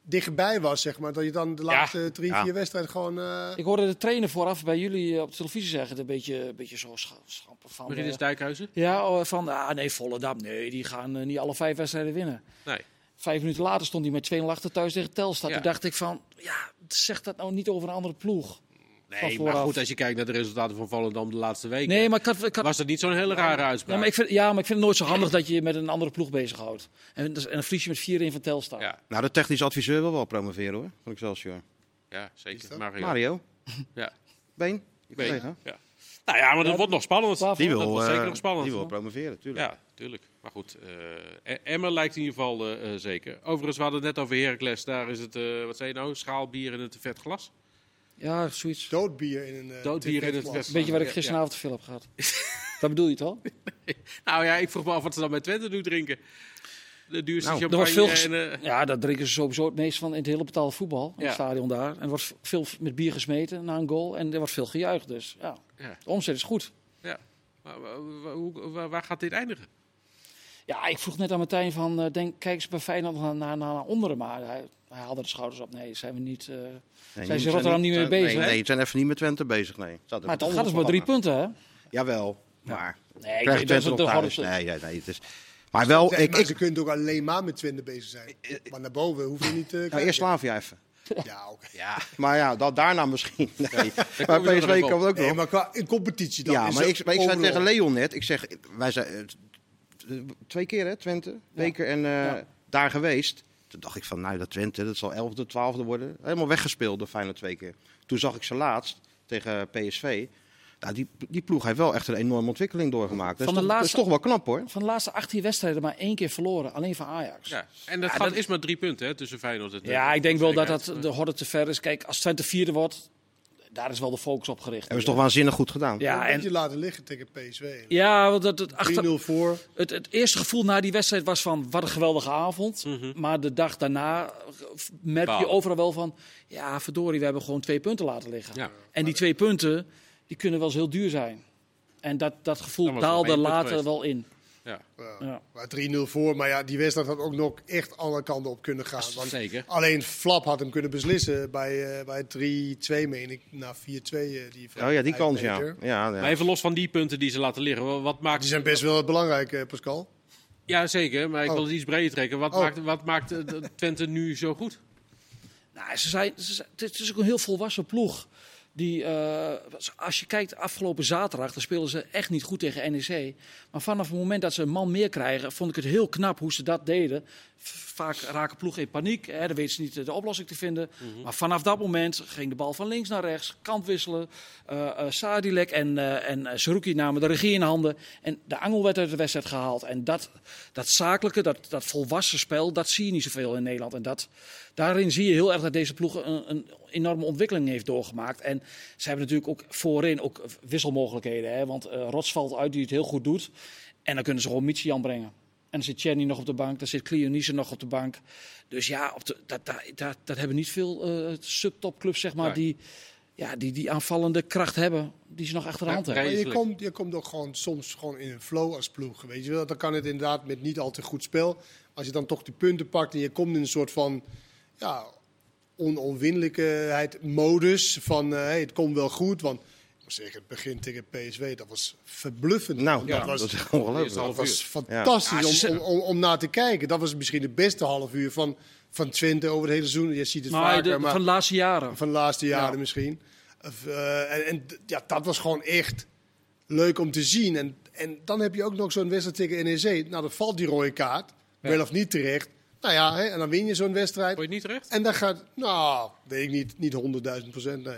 Speaker 3: dichtbij was, zeg maar. Dat je dan de laatste drie,
Speaker 4: Ja.
Speaker 3: vier wedstrijden gewoon... eh,
Speaker 2: Ik hoorde de trainer vooraf bij jullie eh, op de televisie zeggen, het een beetje, een beetje zo scha- schampen van... eh,
Speaker 1: Marinus Dijkhuizen?
Speaker 2: ja, oh, van ah, nee, Volendam, nee, die gaan eh, niet alle vijf wedstrijden winnen.
Speaker 1: Nee.
Speaker 2: Vijf minuten later stond hij met 2-0 achter thuis tegen Telstar.
Speaker 1: Ja.
Speaker 2: Toen dacht ik van, ja, zeg dat nou niet over een andere ploeg. Van
Speaker 1: Nee, maar
Speaker 2: vooraf.
Speaker 1: goed, als je kijkt naar de resultaten van Volendam de laatste weken,
Speaker 2: Nee, maar ik had, ik had
Speaker 1: was dat niet zo'n hele rare uitspraak.
Speaker 2: Ja maar, ik vind, ja, maar ik vind het nooit zo handig dat je je met een andere ploeg bezighoudt. En, dus- en dan verlies je met 4-1 van Telstar.
Speaker 1: Ja,
Speaker 4: Nou, de technisch adviseur wil wel promoveren hoor, van Excelsior.
Speaker 1: ja,
Speaker 3: Is
Speaker 1: zeker.
Speaker 3: dat?
Speaker 1: Mario.
Speaker 4: Mario,
Speaker 1: Ja.
Speaker 4: Been, je
Speaker 1: Been.
Speaker 4: collega.
Speaker 1: Ja. Nou ja, maar dat wordt nog spannend.
Speaker 2: Waarvoor?
Speaker 4: Die
Speaker 1: dat
Speaker 4: wil,
Speaker 1: was
Speaker 4: eh,
Speaker 1: zeker nog spannend.
Speaker 4: die wil promoveren, tuurlijk.
Speaker 1: Ja, tuurlijk. Maar goed, eh, E- Emmen lijkt in ieder geval eh, eh, zeker. Overigens, we hadden het net over Heracles. Daar is het, eh, wat zei je nou, schaalbier in een te vet glas.
Speaker 2: Ja, zoiets. Een
Speaker 3: Doodbier in een... eh,
Speaker 1: Doodbier in het
Speaker 3: tv-glas.
Speaker 1: wedstrijd.
Speaker 2: beetje wat ik
Speaker 1: Ja,
Speaker 2: gisteravond te veel heb gehad. dat bedoel je toch?
Speaker 1: Nou ja, ik vroeg me af wat ze dan met Twente nu drinken. De duurste
Speaker 4: Nou,
Speaker 2: Er
Speaker 1: champagne
Speaker 2: wordt veel ges-
Speaker 1: en, eh,
Speaker 2: ja, daar drinken ze sowieso het meest van in het hele betaalde voetbal. In
Speaker 1: Ja.
Speaker 2: het stadion daar. En er wordt veel met bier gesmeten na een goal. En er wordt veel gejuicht. Dus ja,
Speaker 1: Ja.
Speaker 2: de omzet is goed.
Speaker 1: ja. Maar, wa- wa- hoe- wa- waar gaat dit eindigen?
Speaker 2: Ja, ik vroeg net aan Martijn van, eh, denk, kijk eens bij Feyenoord naar, naar, naar onderen. Maar hij, hij haalde de schouders op. Nee, zijn we niet... eh,
Speaker 4: Nee,
Speaker 2: Zijn ze
Speaker 4: we
Speaker 2: Rotterdam niet meer
Speaker 4: zijn-
Speaker 2: bezig,
Speaker 4: Nee,
Speaker 2: hè?
Speaker 4: nee, ze zijn even niet met Twente bezig, nee. Staat er
Speaker 2: Maar
Speaker 4: wat
Speaker 2: toch gaat
Speaker 4: anders
Speaker 2: het maar drie
Speaker 4: van
Speaker 2: punten, hè?
Speaker 4: aan. Jawel, maar
Speaker 2: Nee,
Speaker 4: krijgt
Speaker 2: denk dat
Speaker 4: Twente
Speaker 2: ze
Speaker 4: nog
Speaker 2: toch
Speaker 4: thuis.
Speaker 2: hadden-
Speaker 4: Nee, nee, nee. Het is... Maar wel,
Speaker 3: Zeg,
Speaker 4: Oh, ik,
Speaker 3: maar
Speaker 4: ik...
Speaker 3: ze kunnen ook alleen maar met Twente bezig zijn. Maar naar boven hoef je niet... eh,
Speaker 4: Eh, Nou,
Speaker 3: kijken.
Speaker 4: eerst Slavia even.
Speaker 3: Ja, oké.
Speaker 4: Maar ja, dat, daarna misschien. Nee. Maar
Speaker 1: nog wel
Speaker 4: PSV
Speaker 1: op.
Speaker 4: kan het ook
Speaker 3: Nee,
Speaker 4: nog.
Speaker 3: maar qua in competitie dan
Speaker 4: Ja,
Speaker 3: is
Speaker 4: maar
Speaker 3: er
Speaker 4: ik, maar ik zei
Speaker 3: overal-
Speaker 4: tegen Leon net, ik zeg, wij zijn eh, t- t- twee keer hè, Twente, beker en eh, daar geweest. Toen dacht ik van, nou dat Twente, dat zal 11e, 12e worden. Helemaal weggespeeld door Feyenoord twee keer. Toen zag ik ze laatst tegen PSV. Nou, die, die ploeg heeft wel echt een enorme ontwikkeling doorgemaakt. Dat is,
Speaker 2: Van de
Speaker 4: toch, dat is
Speaker 2: laatste-
Speaker 4: toch wel knap hoor.
Speaker 2: Van de laatste 18 wedstrijden maar één keer verloren. Alleen van Ajax.
Speaker 1: Ja. En dat, gat is maar drie punten hè, tussen Feyenoord en Twente.
Speaker 2: Ja, ik denk wel dat dat
Speaker 1: Zekerheid.
Speaker 2: de horde te ver is. Kijk, als Twente vierde wordt, daar is wel de focus op gericht.
Speaker 4: Hebben ze toch waanzinnig goed gedaan.
Speaker 3: Een
Speaker 2: Ja,
Speaker 3: beetje
Speaker 2: en,
Speaker 3: laten liggen tegen PSV.
Speaker 2: ja want dat, het, achter,
Speaker 3: 3-0 voor.
Speaker 2: het, het eerste gevoel na die wedstrijd was van, wat een geweldige avond. Maar de dag daarna eh, merk je
Speaker 1: Balen.
Speaker 2: overal wel van, ja verdorie, we hebben gewoon twee punten laten liggen.
Speaker 1: Ja.
Speaker 2: En die twee punten, die kunnen wel eens heel duur zijn. En dat, dat
Speaker 1: Dan
Speaker 2: gevoel
Speaker 1: was er nog
Speaker 2: daalde
Speaker 1: één punt
Speaker 2: later
Speaker 1: geweest.
Speaker 2: wel in.
Speaker 1: Ja.
Speaker 3: Ja.
Speaker 2: Ja.
Speaker 3: Maar 3-0 voor, maar ja, die wedstrijd had ook nog echt alle kanten op kunnen gaan. Want
Speaker 1: zeker.
Speaker 3: Alleen Flap had hem kunnen beslissen bij, eh bij 3-2, meen ik, na 4-2. eh, die van
Speaker 4: Oh ja, die kans ja.
Speaker 3: Eindhoven.
Speaker 4: ja,
Speaker 1: Maar
Speaker 4: ja.
Speaker 1: even los van die punten die ze laten liggen. wa- Wat maakt
Speaker 3: Die zijn best wel belangrijk, eh, Pascal.
Speaker 1: Ja, zeker. Maar ik
Speaker 3: Oh.
Speaker 1: wil het iets breder trekken. Wat
Speaker 3: Oh.
Speaker 1: maakt, wat maakt eh, de- Twente nu zo goed?
Speaker 2: Nou, ze zijn, ze zijn- het is ook een heel volwassen ploeg. Die, eh, als je kijkt afgelopen zaterdag, dan speelden ze echt niet goed tegen NEC. Maar vanaf het moment dat ze een man meer krijgen, vond ik het heel knap hoe ze dat deden. V- Vaak raken ploegen in paniek, hè, dan weten ze niet eh, de oplossing te vinden. Maar vanaf dat moment ging de bal van links naar rechts, kant wisselen. Eh, eh, Sadilek en, eh en eh, Saruki namen de regie in handen. En de angel werd uit de wedstrijd gehaald. En dat, dat zakelijke, dat, dat volwassen spel, dat zie je niet zoveel in Nederland. En dat, daarin zie je heel erg dat deze ploeg een, een enorme ontwikkeling heeft doorgemaakt. En ze hebben natuurlijk ook voorin ook wisselmogelijkheden. Hè? Want eh Rots valt uit die het heel goed doet. En dan kunnen ze gewoon Michian brengen. En dan zit Chenny nog op de bank, dan zit Cleonice nog op de bank. Dus ja, op de, dat, dat, dat, dat hebben niet veel eh, subtopclubs, zeg maar,
Speaker 1: Nee.
Speaker 2: die, ja, die die aanvallende kracht hebben. Die ze nog achter de hand
Speaker 1: Ja,
Speaker 2: hebben.
Speaker 3: Maar je
Speaker 1: Vreselijk.
Speaker 3: komt, je komt ook gewoon soms gewoon in een flow als ploeg. Weet je wel? Dan kan het inderdaad met niet al te goed spel. Als je dan toch die punten pakt en je komt in een soort van ja, onoverwinnelijkheid modus. Van eh, hey, het komt wel goed. Want ik moet zeggen, het begin tegen PSV, dat was verbluffend.
Speaker 4: Nou,
Speaker 3: dat
Speaker 4: ja,
Speaker 3: was,
Speaker 4: dat is ongelooflijk.
Speaker 1: Eerst al- half
Speaker 3: dat was
Speaker 1: uur.
Speaker 3: fantastisch
Speaker 2: Ja, ze-
Speaker 3: om, om, om, om naar te kijken. Dat was misschien het beste half uur van, van Twente over het hele seizoen. Je ziet het
Speaker 2: Maar
Speaker 3: vaker.
Speaker 2: de-
Speaker 3: maar
Speaker 2: van de laatste jaren.
Speaker 3: van de laatste jaren
Speaker 2: Ja.
Speaker 3: misschien. Of, eh, en en d- ja, dat was gewoon echt leuk om te zien. En, en dan heb je ook nog zo'n wedstrijd tegen NEC. Nou, dan valt die rode kaart, wel of niet terecht. Nou ja, hè, en dan win je zo'n wedstrijd.
Speaker 1: Vond je het niet terecht?
Speaker 3: En dan gaat, nou, weet ik niet, niet 100.000 procent, nee.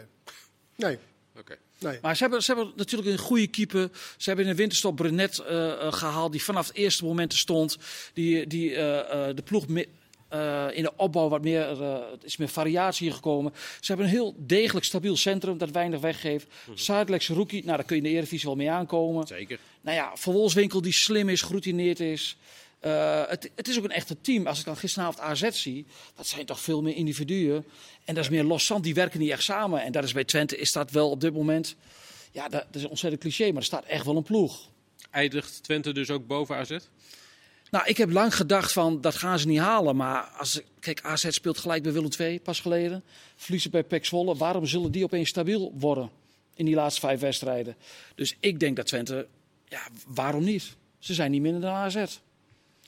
Speaker 3: Nee,
Speaker 1: Oké.
Speaker 3: nee.
Speaker 2: Maar ze hebben, ze hebben natuurlijk een goede keeper. Ze hebben in de winterstop Brenet eh, eh, gehaald, die vanaf het eerste moment er stond. Die, die eh, eh, de ploeg me- eh, in de opbouw wat meer, eh, er is meer variatie hier gekomen. Ze hebben een heel degelijk stabiel centrum dat weinig weggeeft. Zuidelijks rookie, nou daar kun je in de Eredivisie wel mee aankomen.
Speaker 1: Zeker.
Speaker 2: Nou ja, Van Wolfswinkel die slim is, geroutineerd is. Eh, het, het is ook een echte team. Als ik dan gisteravond AZ zie, dat zijn toch veel meer individuen. En dat is meer loszand, die werken niet echt samen. En dat is bij Twente, is dat wel op dit moment... Ja, dat, dat is ontzettend cliché, maar er staat echt wel een ploeg.
Speaker 1: Eindigt Twente dus ook boven AZ?
Speaker 2: Nou, ik heb lang gedacht van, dat gaan ze niet halen. Maar als, ik- kijk, AZ speelt gelijk bij Willem II, pas geleden. Verliezen bij PEC Zwolle. Waarom zullen die opeens stabiel worden in die laatste vijf wedstrijden? Dus ik denk dat Twente, ja, waarom niet? Ze zijn niet minder dan AZ.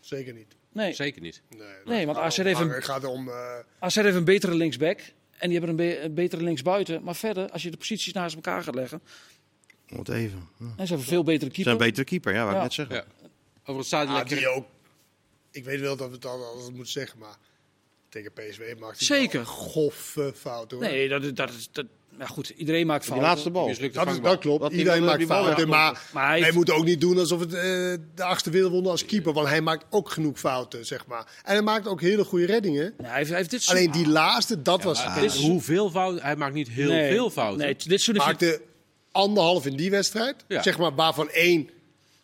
Speaker 3: Zeker niet.
Speaker 2: Nee,
Speaker 1: Zeker niet.
Speaker 3: Nee, dat
Speaker 2: Nee, want
Speaker 3: gaat
Speaker 2: AZ
Speaker 3: om-
Speaker 2: heeft een-
Speaker 3: Het gaat om... eh,
Speaker 2: AZ heeft een betere linksback. En die hebben een, be- een betere linksbuiten. Maar verder, als je de posities naast elkaar gaat leggen.
Speaker 3: Hm.
Speaker 4: Wat even. Ja. Ze
Speaker 2: En ze hebben veel betere
Speaker 4: zijn
Speaker 2: keeper.
Speaker 4: een betere keeper, ja, wat
Speaker 2: Ja.
Speaker 4: ik net zeggen.
Speaker 1: Ja. Over het stadion
Speaker 3: ah, die ook. Ik weet wel dat we het al- altijd moeten zeggen, maar tegen PSV maakt hij
Speaker 2: Zeker.
Speaker 3: wel een goffe fout, hoor.
Speaker 2: Nee, dat, dat is. Dat, nou goed, iedereen maakt
Speaker 4: Die
Speaker 2: fouten.
Speaker 4: laatste bal.
Speaker 1: mislukte
Speaker 3: Dat, is,
Speaker 1: vangbal.
Speaker 3: dat klopt.
Speaker 4: Dat die
Speaker 3: Iedereen
Speaker 4: wel-
Speaker 3: maakt
Speaker 4: die wel
Speaker 3: fouten.
Speaker 4: wegkomt.
Speaker 3: Maar
Speaker 2: Maar
Speaker 3: hij,
Speaker 2: hij heeft-
Speaker 3: moet ook niet doen alsof het eh, de achtste wereldwonder als keeper. Want hij maakt ook genoeg fouten, zeg maar. En hij maakt ook hele goede reddingen.
Speaker 2: Nee, hij, heeft, hij heeft dit
Speaker 3: Alleen die laatste, dat was...
Speaker 1: Ah,
Speaker 3: Hij
Speaker 1: dit is hoeveel fouten? Hij maakt niet heel
Speaker 2: Nee,
Speaker 1: veel fouten.
Speaker 2: Nee, dit soort dingen.
Speaker 3: maakte anderhalf in die wedstrijd.
Speaker 1: Ja.
Speaker 3: Zeg maar, waarvan één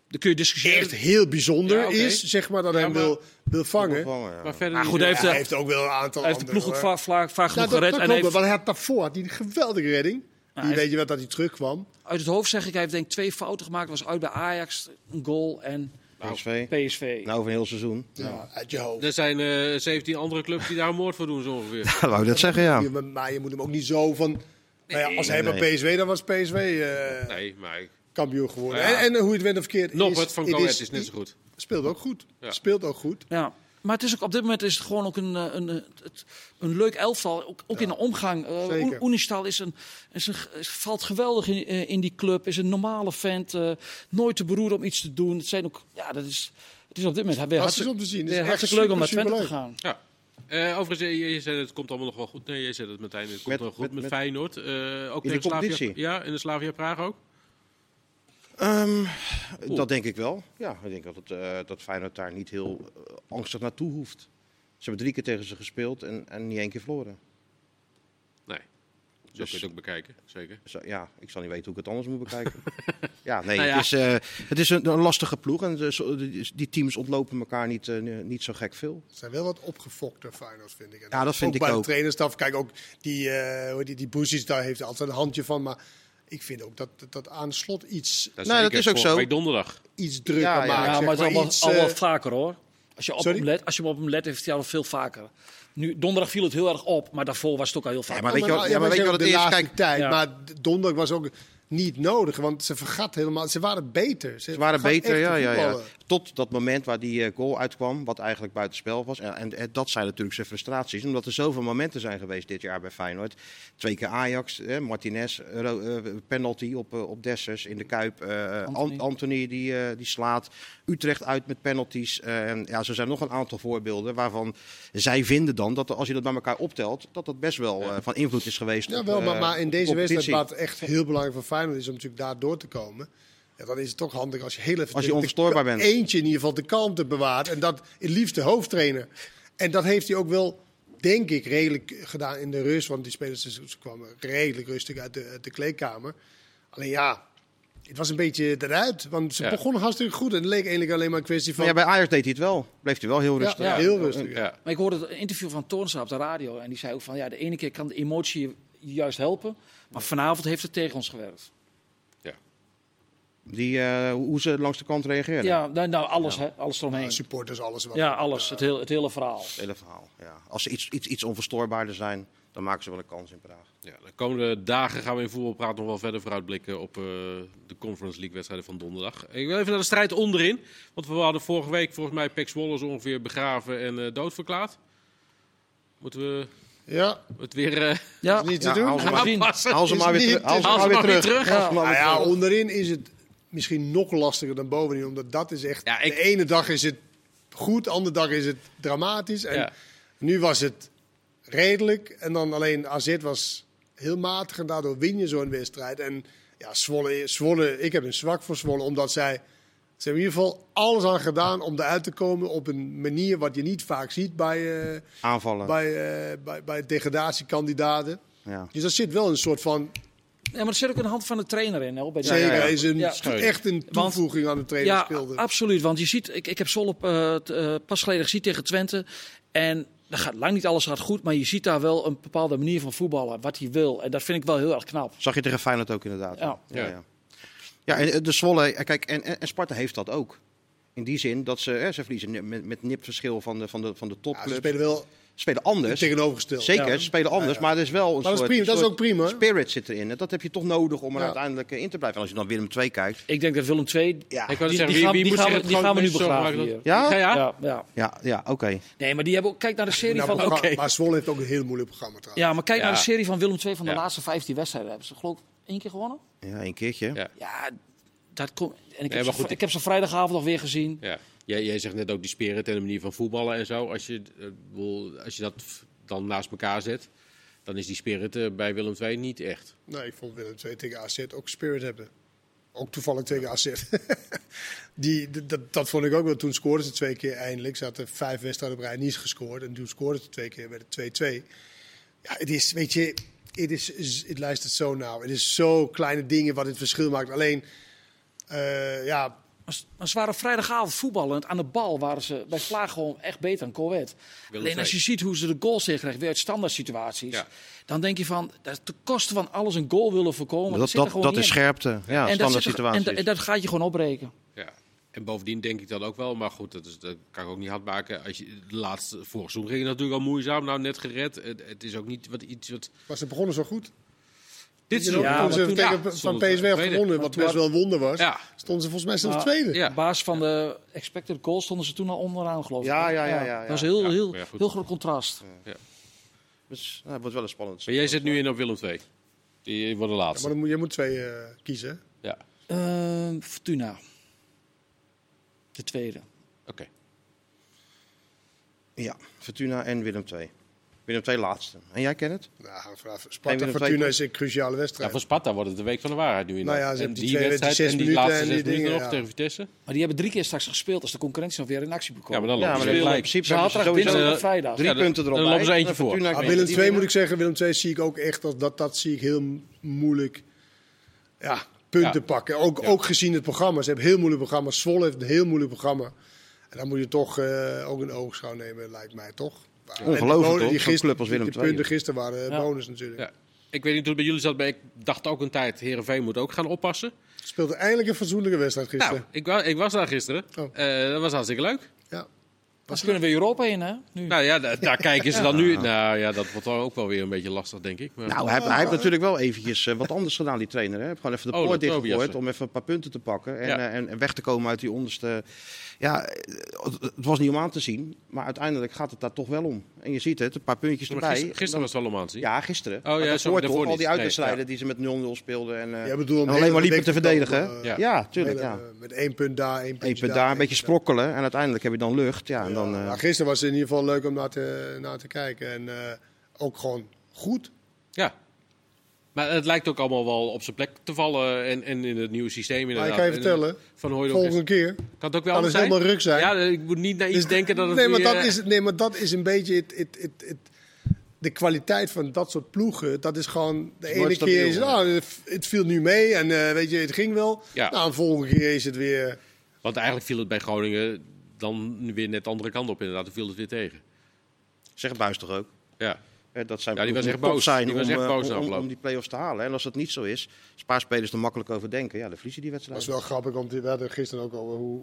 Speaker 2: Dan kun je discussiëren.
Speaker 3: echt heel bijzonder
Speaker 1: Ja, oké.
Speaker 3: is, zeg maar, dat hij
Speaker 1: Ja,
Speaker 3: hem
Speaker 1: maar-
Speaker 3: wil, wil vangen. Ja,
Speaker 4: Opvangen, ja.
Speaker 1: Maar verder
Speaker 2: Maar
Speaker 1: niet
Speaker 2: goed,
Speaker 1: heel-
Speaker 2: hij
Speaker 3: Hij,
Speaker 2: heeft,
Speaker 3: heeft,
Speaker 2: eh,
Speaker 3: ook wel een aantal
Speaker 2: hij heeft de
Speaker 3: andere,
Speaker 2: ploeg ook vaak,
Speaker 3: hoor.
Speaker 2: vaak, vaak
Speaker 3: Ja,
Speaker 2: genoeg
Speaker 3: dat, dat
Speaker 2: gered.
Speaker 3: klopt,
Speaker 2: en hij
Speaker 3: wel,
Speaker 2: heeft,
Speaker 3: want hij had daarvoor had hij een geweldige redding. die
Speaker 2: hij-
Speaker 3: weet je wat, dat hij terugkwam.
Speaker 2: uit het hoofd zeg ik, hij heeft denk ik twee fouten gemaakt. was uit bij Ajax, een goal en
Speaker 4: PSV.
Speaker 2: PSV.
Speaker 4: Nou, over een heel seizoen. Ja.
Speaker 3: Ja, Nou, uit je hoofd.
Speaker 1: Er zijn eh 17 andere clubs die daar een moord voor doen, zo ongeveer.
Speaker 4: Dat wou ik net zeggen, ja.
Speaker 3: Ja, maar- maar je moet hem ook niet zo van. nou ja, als hij bij
Speaker 4: Oh. nee.
Speaker 3: PSV, dan was PSV eh,
Speaker 1: Nee, maar ik-
Speaker 3: kampioen geworden.
Speaker 1: Ja.
Speaker 3: En, en hoe je het went of verkeerd.
Speaker 1: nog
Speaker 3: is-
Speaker 1: wat van
Speaker 3: het
Speaker 1: Go Ahead is net zo goed.
Speaker 3: Speelt ook goed.
Speaker 1: Ja.
Speaker 3: Speelt ook goed.
Speaker 2: Ja. Maar het is ook, op dit moment is het gewoon ook een, eh, een, eh, het- een leuk elftal. Ook, ook in de omgang. Eh,
Speaker 3: Zeker.
Speaker 2: Oen- Oenistal is een, is een, is- valt geweldig in, eh, in die club. Is een normale vent. eh, nooit te beroerd om iets te doen. Het, zijn ook, ja, dat is, het is op dit moment weer
Speaker 3: Fantastisch
Speaker 2: hartstikke,
Speaker 3: om te zien. Het is
Speaker 2: weer
Speaker 3: echt
Speaker 2: hartstikke leuk om naar
Speaker 3: super,
Speaker 2: Twente te
Speaker 3: superleuk.
Speaker 2: gaan.
Speaker 1: Ja. Eh, overigens, eh, je zei het komt allemaal nog wel goed. Nee, jij zei het meteen. Het komt
Speaker 4: Met-
Speaker 1: wel goed met,
Speaker 4: met- met-
Speaker 1: Feyenoord. Eh, ook
Speaker 4: de
Speaker 1: tegen Slavia,
Speaker 4: competitie?
Speaker 1: ja, in de Slavia Praag ook.
Speaker 4: Ehm, dat denk ik wel. Ja, ik denk dat, het, eh, dat Feyenoord daar niet heel eh, angstig naartoe hoeft. Ze hebben drie keer tegen ze gespeeld en, en niet één keer verloren.
Speaker 1: Nee. Zo
Speaker 4: Dus-
Speaker 1: kun je het ook bekijken, zeker.
Speaker 4: Zo- ja, ik zal niet weten hoe ik het anders moet bekijken. ja, nee,
Speaker 1: Nou ja.
Speaker 4: het is, eh, het is een, een lastige ploeg. En dus, eh, die- die teams ontlopen elkaar niet, eh, niet zo gek veel.
Speaker 3: Er zijn wel wat opgefokte finals, vind ik. En
Speaker 4: Ja, dat vind ik
Speaker 3: bij
Speaker 4: ook.
Speaker 3: de trainerstaf. Kijk, ook die, eh hoe heet die, die Boezies, daar heeft hij altijd een handje van. Maar ik vind ook dat, dat, dat aan slot iets,
Speaker 1: Dat
Speaker 4: Nee, Nou, dat
Speaker 1: zeker.
Speaker 4: is ook
Speaker 1: Vorige
Speaker 4: zo.
Speaker 1: week donderdag.
Speaker 3: iets drukker
Speaker 4: Ja, ja.
Speaker 3: maakt.
Speaker 2: Ja,
Speaker 3: zeg
Speaker 2: maar het is al, wat-
Speaker 3: iets,
Speaker 2: al wat
Speaker 3: eh,
Speaker 2: vaker hoor. Als je, op
Speaker 3: Sorry?
Speaker 2: hem let, als je op hem let, heeft hij al veel vaker. Nu, donderdag viel het heel erg op, maar daarvoor was het ook al heel vaak.
Speaker 4: Ja, maar weet je wat- ja,
Speaker 3: we
Speaker 4: maar weet je
Speaker 3: zeggen
Speaker 4: wat
Speaker 3: de
Speaker 4: het is?
Speaker 3: laatste
Speaker 4: Kijk,
Speaker 3: tijd,
Speaker 2: Ja.
Speaker 3: maar d- donderdag was ook niet nodig, want ze vergat helemaal. Ze waren beter.
Speaker 4: Ze waren
Speaker 3: vergat
Speaker 4: beter,
Speaker 3: echt te
Speaker 4: ja, ja, ja.
Speaker 3: voetballen.
Speaker 4: Tot dat moment waar die eh, goal uitkwam, wat eigenlijk buitenspel was. En, en, eh, dat zijn natuurlijk zijn frustraties. Omdat er zoveel momenten zijn geweest dit jaar bij Feyenoord. Twee keer Ajax, eh, Martinez, ro- eh, penalty op, eh, op Dessers in de Kuip. eh, eh, An-
Speaker 2: Anthony.
Speaker 4: Anthony, die, eh, die slaat. Utrecht uit met penalties. Eh, en ja, zo zijn nog een aantal voorbeelden waarvan zij vinden dan... dat er, als je dat bij elkaar optelt, dat dat best wel eh, van invloed is geweest.
Speaker 3: Ja,
Speaker 4: op,
Speaker 3: wel, maar,
Speaker 4: eh,
Speaker 3: maar in
Speaker 4: op
Speaker 3: deze
Speaker 4: competitie.
Speaker 3: wedstrijd, waar het echt heel belangrijk voor Feyenoord is om natuurlijk daar door te komen. Ja, dan is het toch handig als je heel even...
Speaker 4: Als je
Speaker 3: de- de-
Speaker 4: onverstoorbaar bent.
Speaker 3: Eentje in ieder geval de kalmte bewaart. En dat het liefst de hoofdtrainer. En dat heeft hij ook wel, denk ik, redelijk gedaan in de rust. Want die spelers ze- ze kwamen redelijk rustig uit de, uit de kleedkamer. Alleen ja, het was een beetje eruit. Want ze
Speaker 1: Ja.
Speaker 3: begonnen hartstikke goed. En het leek eigenlijk alleen maar een kwestie van...
Speaker 4: Maar ja, bij Ajax deed hij het wel. Bleef hij wel heel rustig.
Speaker 3: Ja,
Speaker 2: Ja.
Speaker 3: heel rustig. ja.
Speaker 1: Ja.
Speaker 2: Maar ik hoorde een interview van Toornstra op de radio. En die zei ook van, ja, de ene keer kan de emotie je juist helpen. Maar vanavond heeft het tegen ons gewerkt.
Speaker 4: Die, eh, hoe ze langs de kant
Speaker 2: Ja,
Speaker 4: reageerden.
Speaker 2: nou, nou, alles, Hè, alles eromheen.
Speaker 3: Supporters, alles wat.
Speaker 2: Ja, alles. Het, heel, het hele verhaal.
Speaker 4: Het hele verhaal. Ja. Als ze iets, iets, iets onverstoorbaarder zijn, dan maken ze wel een kans in Praag.
Speaker 1: Ja, de komende dagen gaan we in voetbalpraat nog wel verder vooruitblikken op eh, de Conference League wedstrijden van donderdag. Ik wil even naar de strijd onderin, want we hadden vorige week volgens mij Pax Wollers ongeveer begraven en eh, doodverklaard. Moeten we
Speaker 3: Ja,
Speaker 1: het weer eh,
Speaker 2: Ja,
Speaker 3: Dus niet te
Speaker 4: Ja,
Speaker 3: doen.
Speaker 4: haal ze maar,
Speaker 1: gaan passen?
Speaker 4: haal ze
Speaker 3: Is
Speaker 4: maar weer
Speaker 3: niet-
Speaker 4: terug. Haal ze
Speaker 1: haal
Speaker 4: maar weer terug.
Speaker 1: Ja.
Speaker 4: Haal ze maar
Speaker 3: Nou
Speaker 4: weer
Speaker 3: ja,
Speaker 4: terug.
Speaker 3: onderin is het misschien nog lastiger dan bovenin. Omdat dat is echt...
Speaker 1: Ja, ik-
Speaker 3: De ene dag is het goed, de andere dag is het dramatisch. En
Speaker 1: Ja.
Speaker 3: nu was het redelijk. En dan alleen AZ was heel matig. En daardoor win je zo'n wedstrijd. En ja, Zwolle, Zwolle... Ik heb een zwak voor Zwolle, omdat zij... Ze hebben in ieder geval alles aan gedaan om eruit te komen op een manier wat je niet vaak ziet bij, eh,
Speaker 4: Aanvallen.
Speaker 3: bij, eh, bij, bij degradatiekandidaten.
Speaker 4: Ja.
Speaker 3: Dus daar zit wel een soort van
Speaker 2: Ja, maar er zit ook een hand van de trainer in. Hè, bij die-
Speaker 3: Zeker,
Speaker 4: ja, ja.
Speaker 3: is een,
Speaker 2: Ja.
Speaker 3: toe- echt een
Speaker 2: Want-
Speaker 3: toevoeging aan de
Speaker 2: Ja,
Speaker 3: trainingsbeelden.
Speaker 2: absoluut. Want je ziet, ik, ik heb Sol op, eh, t- eh, pas geleden gezien tegen Twente. En dat gaat lang niet alles gaat goed, maar je ziet daar wel een bepaalde manier van voetballen, wat hij wil. En dat vind ik wel heel erg knap.
Speaker 4: Zag je tegen Feyenoord ook inderdaad.
Speaker 2: Ja.
Speaker 4: ja. ja. Ja, en eh, de Zwolle, eh, kijk, en, en en Sparta heeft dat ook. In die zin dat ze, hè, ze verliezen ni- met, met nip verschil van de, van de, van de
Speaker 3: Ja, ze
Speaker 4: topclubs.
Speaker 3: spelen wel
Speaker 4: spelen anders.
Speaker 3: tegenovergesteld.
Speaker 4: Zeker, ze spelen anders, maar er is wel
Speaker 3: Maar
Speaker 4: een
Speaker 3: dat is
Speaker 4: soort,
Speaker 3: prima, dat is
Speaker 4: soort
Speaker 3: ook prima.
Speaker 4: spirit zit erin. En dat heb je toch nodig om er
Speaker 3: Ja.
Speaker 4: uiteindelijk eh, in te blijven. En als je dan Willem 2 kijkt,
Speaker 2: Ik denk dat Willem II,
Speaker 4: ja,
Speaker 1: Ik wou net
Speaker 2: die,
Speaker 1: zeggen,
Speaker 2: die
Speaker 1: wie-
Speaker 2: gaan,
Speaker 1: wie
Speaker 2: die
Speaker 1: moet
Speaker 2: gaan,
Speaker 1: zich
Speaker 2: we-
Speaker 1: het
Speaker 2: die
Speaker 1: gewoon
Speaker 2: gaan we nu
Speaker 1: meest zorgen
Speaker 2: begraven
Speaker 1: maken
Speaker 2: hier.
Speaker 1: dat-
Speaker 4: Ja?
Speaker 1: Ja, ja.
Speaker 2: Ja, ja.
Speaker 4: ja, ja oké.
Speaker 2: Nee, maar die hebben ook, kijk naar de serie
Speaker 3: Nou,
Speaker 2: van...
Speaker 3: maar,
Speaker 2: oké.
Speaker 3: maar Zwolle heeft ook een heel moeilijk programma trouwens.
Speaker 2: Ja, maar kijk naar
Speaker 1: Ja.
Speaker 2: de serie van Willem II van de
Speaker 1: Ja.
Speaker 2: laatste 15 wedstrijden. Hebben ze geloof ik één keer gewonnen?
Speaker 4: Ja, een keertje.
Speaker 1: Ja.
Speaker 2: Ja, dat komt... En ik,
Speaker 1: maar
Speaker 2: heb ze,
Speaker 1: goed,
Speaker 2: vri-
Speaker 1: die-
Speaker 2: ik heb ze vrijdagavond nog weer gezien.
Speaker 1: Ja. Jij, jij zegt net ook die spirit en de manier van voetballen en zo. Als je, eh, wil- als je dat f- dan naast elkaar zet, dan is die spirit eh, bij Willem II niet echt.
Speaker 3: Nee, ik vond Willem 2 tegen AZ ook spirit hebben. Ook toevallig tegen AZ. Die, d- dat, dat vond ik ook wel. Toen scoorden ze twee keer eindelijk. Ze hadden vijf wedstrijden op rij niet gescoord. En toen scoorden ze twee keer, werd het 2-2. Ja, het is, weet je, het, is, is- het luistert zo nauw. Het is zo kleine dingen wat het verschil maakt. Alleen, eh, ja,
Speaker 2: Maar ze- Maar ze waren vrijdagavond voetballend. Aan de bal waren ze bij Vlaag gewoon echt beter dan Corwet.
Speaker 1: Willem
Speaker 2: Alleen als je
Speaker 1: II.
Speaker 2: ziet hoe ze de goals tegenkrijgen, weer uit standaard situaties.
Speaker 1: Ja.
Speaker 2: Dan denk je van, dat is ten koste van alles een goal willen voorkomen.
Speaker 4: Dat,
Speaker 2: dat zit er
Speaker 4: dat,
Speaker 2: gewoon
Speaker 4: dat
Speaker 2: niet
Speaker 4: is
Speaker 2: in.
Speaker 4: scherpte. Ja,
Speaker 2: en dat,
Speaker 4: standaard
Speaker 2: zit er- en,
Speaker 4: situatie.
Speaker 2: da- en dat gaat je gewoon opbreken.
Speaker 1: Ja. En bovendien denk ik dat ook wel, maar goed, dat, is, dat kan ik ook niet hard maken. Als je, de laatste, vorig seizoen ging het natuurlijk al moeizaam, nou net gered. Het, het is ook niet wat, iets wat...
Speaker 3: maar ze begonnen zo goed.
Speaker 1: Dit
Speaker 3: Ja,
Speaker 1: seizoen...
Speaker 2: maar
Speaker 3: toen ze
Speaker 2: toen-
Speaker 3: tegen
Speaker 1: ja, eh,
Speaker 3: van
Speaker 1: stonden
Speaker 3: PSV
Speaker 1: ze
Speaker 3: had
Speaker 1: tweede.
Speaker 3: gewonnen, wat
Speaker 2: toen
Speaker 3: best
Speaker 2: had-
Speaker 3: wel een wonder was,
Speaker 1: Ja.
Speaker 3: stonden ze volgens mij zelfs
Speaker 2: Maar-
Speaker 3: tweede.
Speaker 1: Ja.
Speaker 2: Op basis van de expected goals stonden ze toen al onderaan, geloof ik.
Speaker 4: Ja, ja, ja, ja, ja.
Speaker 2: Dat was een heel,
Speaker 1: Ja,
Speaker 2: heel,
Speaker 1: maar ja, goed.
Speaker 2: heel groot contrast.
Speaker 4: Dus, nou, het wordt wel een spannend.
Speaker 1: Maar jij zit nu in op Willem II. Die wordt de
Speaker 3: Ja,
Speaker 1: laatste.
Speaker 3: maar dan moet, je moet twee eh, kiezen. hè?
Speaker 1: Ja,
Speaker 2: Ehm, Fortuna. De tweede.
Speaker 1: oké.
Speaker 4: Ja, Fortuna en Willem 2. Willem 2 laatste. En jij kent het?
Speaker 3: Nou, gaan we vanaf.
Speaker 4: Neem je
Speaker 3: Sparta
Speaker 4: er
Speaker 3: Fortuna
Speaker 4: twee-
Speaker 3: is een cruciale
Speaker 1: Ja,
Speaker 3: wedstrijd.
Speaker 1: voor Sparta wordt het de week van de waarheid nu in.
Speaker 3: Nou ja, ze
Speaker 1: en
Speaker 3: hebben die
Speaker 1: die
Speaker 3: twee- die
Speaker 1: wedstrijd
Speaker 3: zes
Speaker 1: en die
Speaker 3: minuten
Speaker 1: laatste
Speaker 3: en
Speaker 1: zes
Speaker 3: die
Speaker 1: minuten
Speaker 3: dingen,
Speaker 1: nog
Speaker 3: ja. Oh,
Speaker 1: tegen Vitesse.
Speaker 2: Maar die hebben drie keer straks gespeeld als de concurrentie nog weer in actie bekomen.
Speaker 1: Ja, maar dan
Speaker 4: Ja,
Speaker 1: lopen
Speaker 4: maar
Speaker 1: ze
Speaker 4: in
Speaker 1: weer gelijk.
Speaker 4: principe
Speaker 2: Zaterdag,
Speaker 4: hebben ze sowieso
Speaker 2: dinsdag en
Speaker 1: eh,
Speaker 2: vrijdag.
Speaker 4: drie
Speaker 1: Ja, dan-
Speaker 4: punten erop.
Speaker 1: dan lopen ze eentje voor.
Speaker 3: Ah, Willem II moet ik zeggen, Willem II zie ik ook echt, dat, dat, dat zie ik heel moeilijk ja, punten
Speaker 1: Ja.
Speaker 3: pakken. Ook,
Speaker 1: Ja.
Speaker 3: ook gezien het programma. Ze hebben heel moeilijk programma. Zwolle heeft een heel moeilijk programma. En dan moet je toch eh, ook een oogschouw nemen, lijkt mij toch? En de
Speaker 4: Ongelooflijk,
Speaker 3: bonen
Speaker 4: toch?
Speaker 3: Die,
Speaker 4: Zo'n club
Speaker 3: die-
Speaker 4: als Willem
Speaker 3: die
Speaker 4: II.
Speaker 3: punten gisteren waren eh,
Speaker 2: Ja.
Speaker 3: bonus natuurlijk.
Speaker 1: Ja. Ik weet niet hoe het bij jullie zat, maar ik dacht ook een tijd, Heerenveen moet ook gaan oppassen.
Speaker 3: Speelde eindelijk een fatsoenlijke wedstrijd
Speaker 1: Nou,
Speaker 3: gisteren.
Speaker 1: ik, wa ik was daar gisteren.
Speaker 3: Oh.
Speaker 1: Eh, dat was hartstikke leuk.
Speaker 3: Ja.
Speaker 2: Dan kunnen we Europa in, hè? Nu.
Speaker 1: Nou ja, da- daar kijken ze dan nu. Nou ja, dat wordt dan ook wel weer een beetje lastig, denk ik. Maar,
Speaker 4: Nou, hij, hij heeft natuurlijk wel eventjes eh, wat anders gedaan, die trainer. Hè. Hij heeft gewoon even de
Speaker 1: Oh,
Speaker 4: poort
Speaker 1: dat
Speaker 4: dichtgegooid
Speaker 1: Tobiassen.
Speaker 4: om even een paar punten te pakken. En,
Speaker 1: Ja.
Speaker 4: eh, en, en weg te komen uit die onderste... Ja, eh, het- het was niet om aan te zien. Maar uiteindelijk gaat het daar toch wel om. En je ziet het, een paar puntjes
Speaker 1: Maar
Speaker 4: erbij.
Speaker 1: gisteren, gisteren was het wel om aan te zien.
Speaker 4: Ja, gisteren.
Speaker 1: Oh, ja,
Speaker 4: Maar
Speaker 1: sorry,
Speaker 4: daarvoor
Speaker 1: daarvoor
Speaker 4: toch, al
Speaker 1: niet.
Speaker 4: die
Speaker 1: Nee,
Speaker 4: uitwedstrijden
Speaker 1: ja.
Speaker 4: die ze met 0-0 speelden. En, eh,
Speaker 3: Jij bedoelt om
Speaker 4: en alleen
Speaker 3: heel
Speaker 4: maar liepen te
Speaker 3: beter te
Speaker 4: verdedigen.
Speaker 3: komen,
Speaker 4: ja.
Speaker 1: eh,
Speaker 4: tuurlijk. Ja.
Speaker 3: Met, eh, met één punt daar, één puntje
Speaker 4: Eén punt daar, een beetje
Speaker 3: eentje
Speaker 4: sprokkelen. En uiteindelijk heb je dan lucht. Ja, en
Speaker 3: daar.
Speaker 4: dan...
Speaker 3: Ja,
Speaker 4: eh,
Speaker 3: maar gisteren was het in ieder geval leuk om naar te, naar te kijken. En eh, ook gewoon goed.
Speaker 1: Ja. Maar het lijkt ook allemaal wel op zijn plek te vallen en, en in het nieuwe systeem
Speaker 3: Maar
Speaker 1: inderdaad.
Speaker 3: ik kan je
Speaker 1: En eh,
Speaker 3: vertellen,
Speaker 1: Van Hooydonk is-
Speaker 3: volgende keer
Speaker 1: Kan het ook wel
Speaker 3: kan
Speaker 1: anders
Speaker 3: het
Speaker 1: zijn?
Speaker 3: helemaal ruk zijn.
Speaker 1: Ja, dus ik moet niet naar iets
Speaker 3: Dus-
Speaker 1: denken dat het
Speaker 3: nee, maar
Speaker 1: weer,
Speaker 3: dat
Speaker 1: eh,
Speaker 3: is, nee, maar dat is een beetje het, het, het, het, de kwaliteit van dat soort ploegen. Dat is gewoon de
Speaker 4: is nooit
Speaker 3: ene keer
Speaker 4: stabiel,
Speaker 3: is het, ah, het- het viel nu mee en eh, weet je, het ging wel.
Speaker 1: Ja.
Speaker 3: Nou, de volgende keer is het weer.
Speaker 1: Want eigenlijk viel het bij Groningen dan weer net de andere kant op inderdaad. Dan viel het weer tegen.
Speaker 4: Zegt Buis toch ook?
Speaker 1: Ja.
Speaker 4: Hè, Dat zijn
Speaker 1: Ja, die was
Speaker 4: ploegen
Speaker 1: echt
Speaker 4: top
Speaker 1: boos.
Speaker 4: Zijn
Speaker 1: Die
Speaker 4: om,
Speaker 1: was echt
Speaker 4: eh,
Speaker 1: boos
Speaker 4: om-
Speaker 1: na
Speaker 4: om,
Speaker 1: afloop.
Speaker 4: om die play-offs te halen. En als dat niet zo is, spaarspelers er makkelijk over denken. Ja, dan verliezen die
Speaker 3: Dat
Speaker 4: wedstrijd.
Speaker 3: is wel grappig, want we hadden gisteren ook over hoe,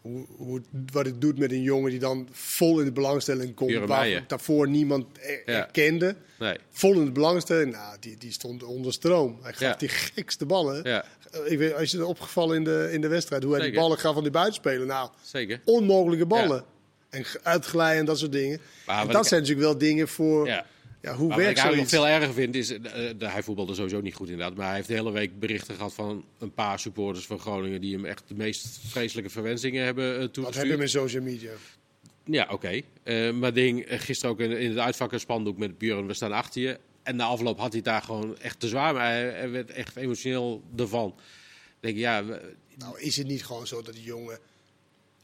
Speaker 3: hoe, hoe, het- wat het doet met een jongen die dan vol in de belangstelling komt.
Speaker 1: Jeroen
Speaker 3: Waar
Speaker 1: Meijer.
Speaker 3: daarvoor niemand er-
Speaker 1: Ja.
Speaker 3: herkende.
Speaker 1: Nee.
Speaker 3: Vol in de belangstelling, nou, die, die stond onder stroom. Hij gaf
Speaker 1: Ja.
Speaker 3: die gekste ballen.
Speaker 1: Ja,
Speaker 3: Eh, Ik weet, als je het opgevallen in de, in de wedstrijd, hoe hij die
Speaker 1: Zeker.
Speaker 3: ballen gaf van die buitenspelen. Nou,
Speaker 1: zeker.
Speaker 3: onmogelijke ballen.
Speaker 1: Ja.
Speaker 3: En ge- uitglijden en dat soort dingen.
Speaker 1: Maar
Speaker 3: en
Speaker 1: wat
Speaker 3: dat
Speaker 1: ik-
Speaker 3: zijn natuurlijk wel dingen voor...
Speaker 1: Ja.
Speaker 3: Ja. hoe
Speaker 1: Maar wat ik
Speaker 3: werkt
Speaker 1: eigenlijk nog
Speaker 3: zoiets?
Speaker 1: veel erger vind is, eh, eh, hij voetbalde sowieso niet goed inderdaad, maar hij heeft de hele week berichten gehad van een paar supporters van Groningen die hem echt de meest vreselijke verwensingen hebben eh
Speaker 3: Wat heb je
Speaker 1: toegestuurd.
Speaker 3: met social media?
Speaker 1: Ja, oké. Eh, maar ding, eh, gisteren ook in, in het uitvak een spandoek met Björn, we staan achter je. En na afloop had hij daar gewoon echt te zwaar, maar hij, hij werd echt emotioneel ervan. Ik denk, ja, we-
Speaker 3: Nou, is het niet gewoon zo dat die jongen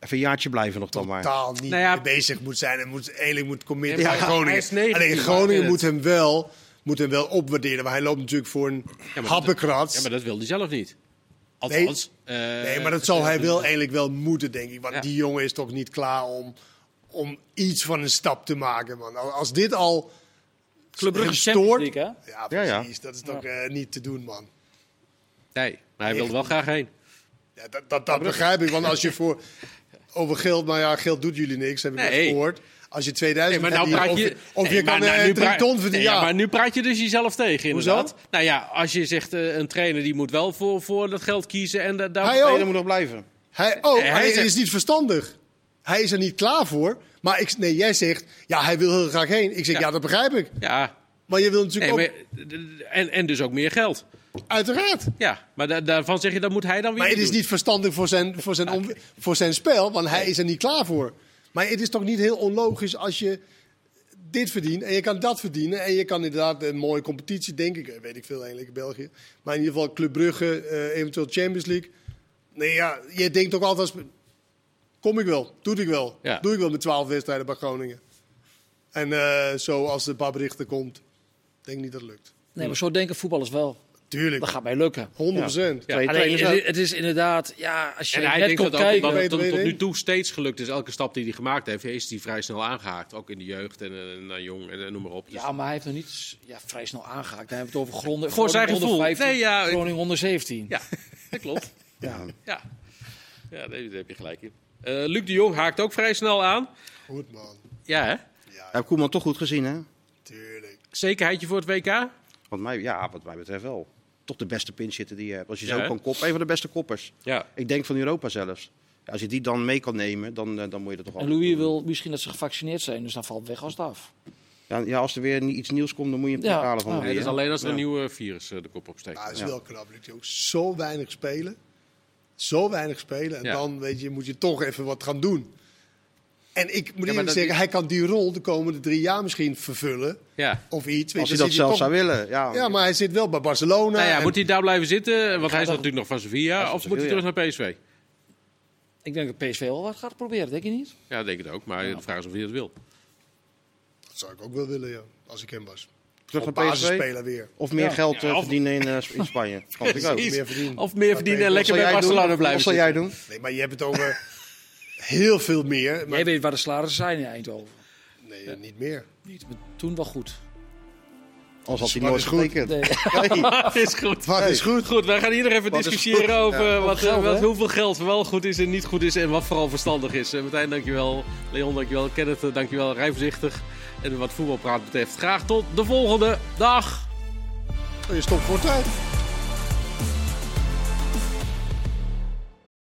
Speaker 4: Even een jaartje blijven nog dan maar.
Speaker 3: totaal niet
Speaker 1: Nou ja,
Speaker 3: mee bezig moet zijn en moet, eigenlijk moet committen
Speaker 1: Ja,
Speaker 3: aan
Speaker 1: maar hij
Speaker 3: Groningen.
Speaker 1: is 19,
Speaker 3: Alleen
Speaker 1: maar
Speaker 3: Groningen
Speaker 1: het-
Speaker 3: moet hem, wel, moet hem wel opwaarderen. Maar hij loopt natuurlijk voor een
Speaker 1: dat-
Speaker 3: happenkrat.
Speaker 1: ja, maar dat wil hij zelf niet. Althans. eh,
Speaker 3: nee, maar dat zal hij wel eigenlijk wel moeten, denk ik. Want
Speaker 1: Ja.
Speaker 3: die jongen is toch niet klaar om, om iets van een stap te maken, man. Als dit al
Speaker 2: Club Brugge
Speaker 3: hem
Speaker 2: Champions
Speaker 3: stoort-
Speaker 2: League, hè?
Speaker 3: Ja,
Speaker 4: Ja,
Speaker 3: precies.
Speaker 4: ja.
Speaker 3: Dat is toch eh, niet te doen, man.
Speaker 1: Nee, maar hij wil er wel graag heen.
Speaker 3: Ja, dat dat, dat begrijp ik, want als je voor... Over geld, nou ja, geld doet jullie niks, heb ik
Speaker 1: Nee.
Speaker 3: net gehoord. Als je 2000
Speaker 1: Nee, maar nou
Speaker 3: hebt
Speaker 1: praat
Speaker 3: hier,
Speaker 1: je.
Speaker 3: Of, of
Speaker 1: nee,
Speaker 3: je
Speaker 1: maar
Speaker 3: kan
Speaker 1: nou, nu
Speaker 3: een
Speaker 1: praat-
Speaker 3: ton verdienen.
Speaker 1: nee,
Speaker 3: ja,
Speaker 1: maar nu praat je dus jezelf tegen, inderdaad. Nou ja, als je zegt eh, een trainer die moet wel voor, voor dat geld kiezen en da- daar.
Speaker 3: Hij ook.
Speaker 4: Nee, dat moet nog blijven.
Speaker 3: Hij, oh,
Speaker 1: Nee, hij
Speaker 3: hij,
Speaker 1: zegt-
Speaker 3: is niet verstandig. Hij is er niet klaar voor. Maar ik, nee, jij zegt, ja, hij wil heel graag heen. Ik zeg,
Speaker 1: Ja.
Speaker 3: ja, dat begrijp ik.
Speaker 1: Ja,
Speaker 3: Maar je wil
Speaker 1: nee,
Speaker 3: natuurlijk
Speaker 1: maar, en, en dus ook meer geld.
Speaker 3: ook, uiteraard.
Speaker 1: Ja, maar da- daarvan zeg je dat moet hij dan weer.
Speaker 3: Maar het is
Speaker 1: doen.
Speaker 3: niet verstandig voor zijn, voor zijn, om- voor zijn spel, want hij is er niet klaar voor. Maar het is toch niet heel onlogisch als je dit verdient en je kan dat verdienen. En je kan inderdaad een mooie competitie, denk ik, eh, weet ik veel eigenlijk, België. Maar in ieder geval Club Brugge, eh, eventueel Champions League. Nee, ja, je denkt ook altijd, als- kom ik wel, doe ik wel.
Speaker 1: Ja.
Speaker 3: Doe ik wel met 12 wedstrijden bij Groningen. En eh, zo als de babrichter komt, denk niet dat het lukt.
Speaker 2: Nee, maar zo denken voetballers wel.
Speaker 3: Tuurlijk,
Speaker 2: Dat gaat mij lukken.
Speaker 3: 100%.
Speaker 1: Ja.
Speaker 4: Twee
Speaker 2: Alleen,
Speaker 4: trainers
Speaker 2: het, is- het is inderdaad, ja, als je
Speaker 1: En hij
Speaker 2: net
Speaker 1: denkt
Speaker 2: komt
Speaker 1: dat ook
Speaker 2: kijken...
Speaker 1: omdat het tot,
Speaker 3: Peter,
Speaker 1: tot
Speaker 3: weet
Speaker 1: nu
Speaker 3: ik.
Speaker 1: toe steeds gelukt is. Elke stap die hij gemaakt heeft, is hij vrij snel aangehaakt. Ook in de jeugd en, eh, en, eh, jong en eh, noem maar op. Dus-
Speaker 2: Ja, maar hij heeft nog niet s- ja, vrij snel aangehaakt. Hij heeft het over Groningen
Speaker 1: Voor zijn
Speaker 2: Groningen
Speaker 1: gevoel.
Speaker 2: 115,
Speaker 1: Nee, ja, ik-
Speaker 2: Groningen 117.
Speaker 1: Ja, dat klopt. Ja, ja. ja nee, daar heb je gelijk in. Eh, Luc de Jong haakt ook vrij snel aan.
Speaker 3: Goed man,
Speaker 1: Ja, hè?
Speaker 4: Ja, heb Koeman toch goed gezien, hè?
Speaker 3: tuurlijk.
Speaker 1: Zekerheidje voor het WK?
Speaker 4: Wat mij, ja, wat mij betreft wel. Toch de beste pinchitter die je hebt. Als je
Speaker 1: Ja,
Speaker 4: zo
Speaker 1: hè?
Speaker 4: kan koppen. Een van de beste koppers.
Speaker 1: Ja.
Speaker 4: Ik denk van Europa zelfs. Ja, als je die dan mee kan nemen, dan, eh, dan moet je er toch
Speaker 2: En
Speaker 4: altijd
Speaker 2: Louis
Speaker 4: doen.
Speaker 2: wil misschien dat ze gevaccineerd zijn, dus dan valt weg als het af.
Speaker 4: Ja, ja, als er weer ni- iets nieuws komt, dan moet je hem
Speaker 2: Ja.
Speaker 4: halen van
Speaker 2: Ja,
Speaker 4: Louis,
Speaker 1: Nee, dat is
Speaker 4: hè?
Speaker 1: alleen als er een
Speaker 4: Ja.
Speaker 1: nieuwe virus eh, de kop opsteekt.
Speaker 3: Ja, dat is
Speaker 4: Ja.
Speaker 3: wel knap. Lukt hij ook zo weinig spelen. Zo weinig spelen. En
Speaker 1: Ja.
Speaker 3: dan weet je, moet je toch even wat gaan doen. En ik moet
Speaker 1: maar
Speaker 3: eerlijk
Speaker 1: dat
Speaker 3: zeggen,
Speaker 1: is-
Speaker 3: hij kan die rol de komende drie jaar misschien vervullen.
Speaker 1: Ja.
Speaker 3: Of iets. weet
Speaker 4: Als
Speaker 3: je, dan
Speaker 4: hij dat
Speaker 3: zit
Speaker 4: zelf
Speaker 3: toch-
Speaker 4: zou willen. Ja,
Speaker 3: Ja, maar hij zit wel bij Barcelona.
Speaker 1: Nou ja,
Speaker 3: en-
Speaker 1: moet hij daar blijven zitten? Want hij is natuurlijk nog van
Speaker 4: Hij is
Speaker 1: Sevilla. Of
Speaker 4: van
Speaker 1: moet hij
Speaker 4: Sevilla.
Speaker 1: terug naar PSV?
Speaker 2: Ik denk dat PSV wel wat gaat proberen, denk je niet?
Speaker 1: Ja, ik denk het ook. Maar de vraag is of hij dat wil.
Speaker 3: Dat zou ik ook wel willen, ja, als ik hem was.
Speaker 4: terug
Speaker 3: Op
Speaker 4: naar PSV.
Speaker 3: basisspeler weer.
Speaker 4: Of meer geld eh,
Speaker 1: Ja, of-
Speaker 4: verdienen in, eh, in Spanje. Kan ik ook.
Speaker 1: Precies.
Speaker 3: meer verdienen.
Speaker 1: Of meer verdienen en
Speaker 3: Wat
Speaker 1: lekker
Speaker 4: Zal
Speaker 1: bij
Speaker 4: jij
Speaker 1: Barcelona
Speaker 4: doen?
Speaker 1: blijven
Speaker 4: Wat zal
Speaker 1: zitten.
Speaker 4: jij doen?
Speaker 3: Nee, maar je hebt het over heel veel meer. Maar
Speaker 2: Jij weet waar de salarissen zijn in Eindhoven.
Speaker 3: nee, niet meer.
Speaker 2: Niet, maar toen wel goed.
Speaker 4: Anders had hij
Speaker 3: Wat
Speaker 4: nooit
Speaker 3: is goed.
Speaker 4: getekend.
Speaker 2: Nee.
Speaker 4: Nee.
Speaker 1: Het is goed.
Speaker 3: Wat is goed.
Speaker 1: Goed, wij gaan hier nog even
Speaker 4: Wat is
Speaker 1: discussiëren
Speaker 4: goed?
Speaker 1: over
Speaker 4: Ja.
Speaker 1: wat,
Speaker 2: geld,
Speaker 1: eh, wat-
Speaker 2: hè?
Speaker 1: hoeveel geld wel goed is en niet goed is. En wat vooral verstandig is. Eh, Martijn, dankjewel. Leon, dankjewel. Kenneth, eh, dankjewel. Rij voorzichtig. En wat voetbalpraat betreft, graag tot de volgende. Dag!
Speaker 3: Oh, Je stopt voor tijd.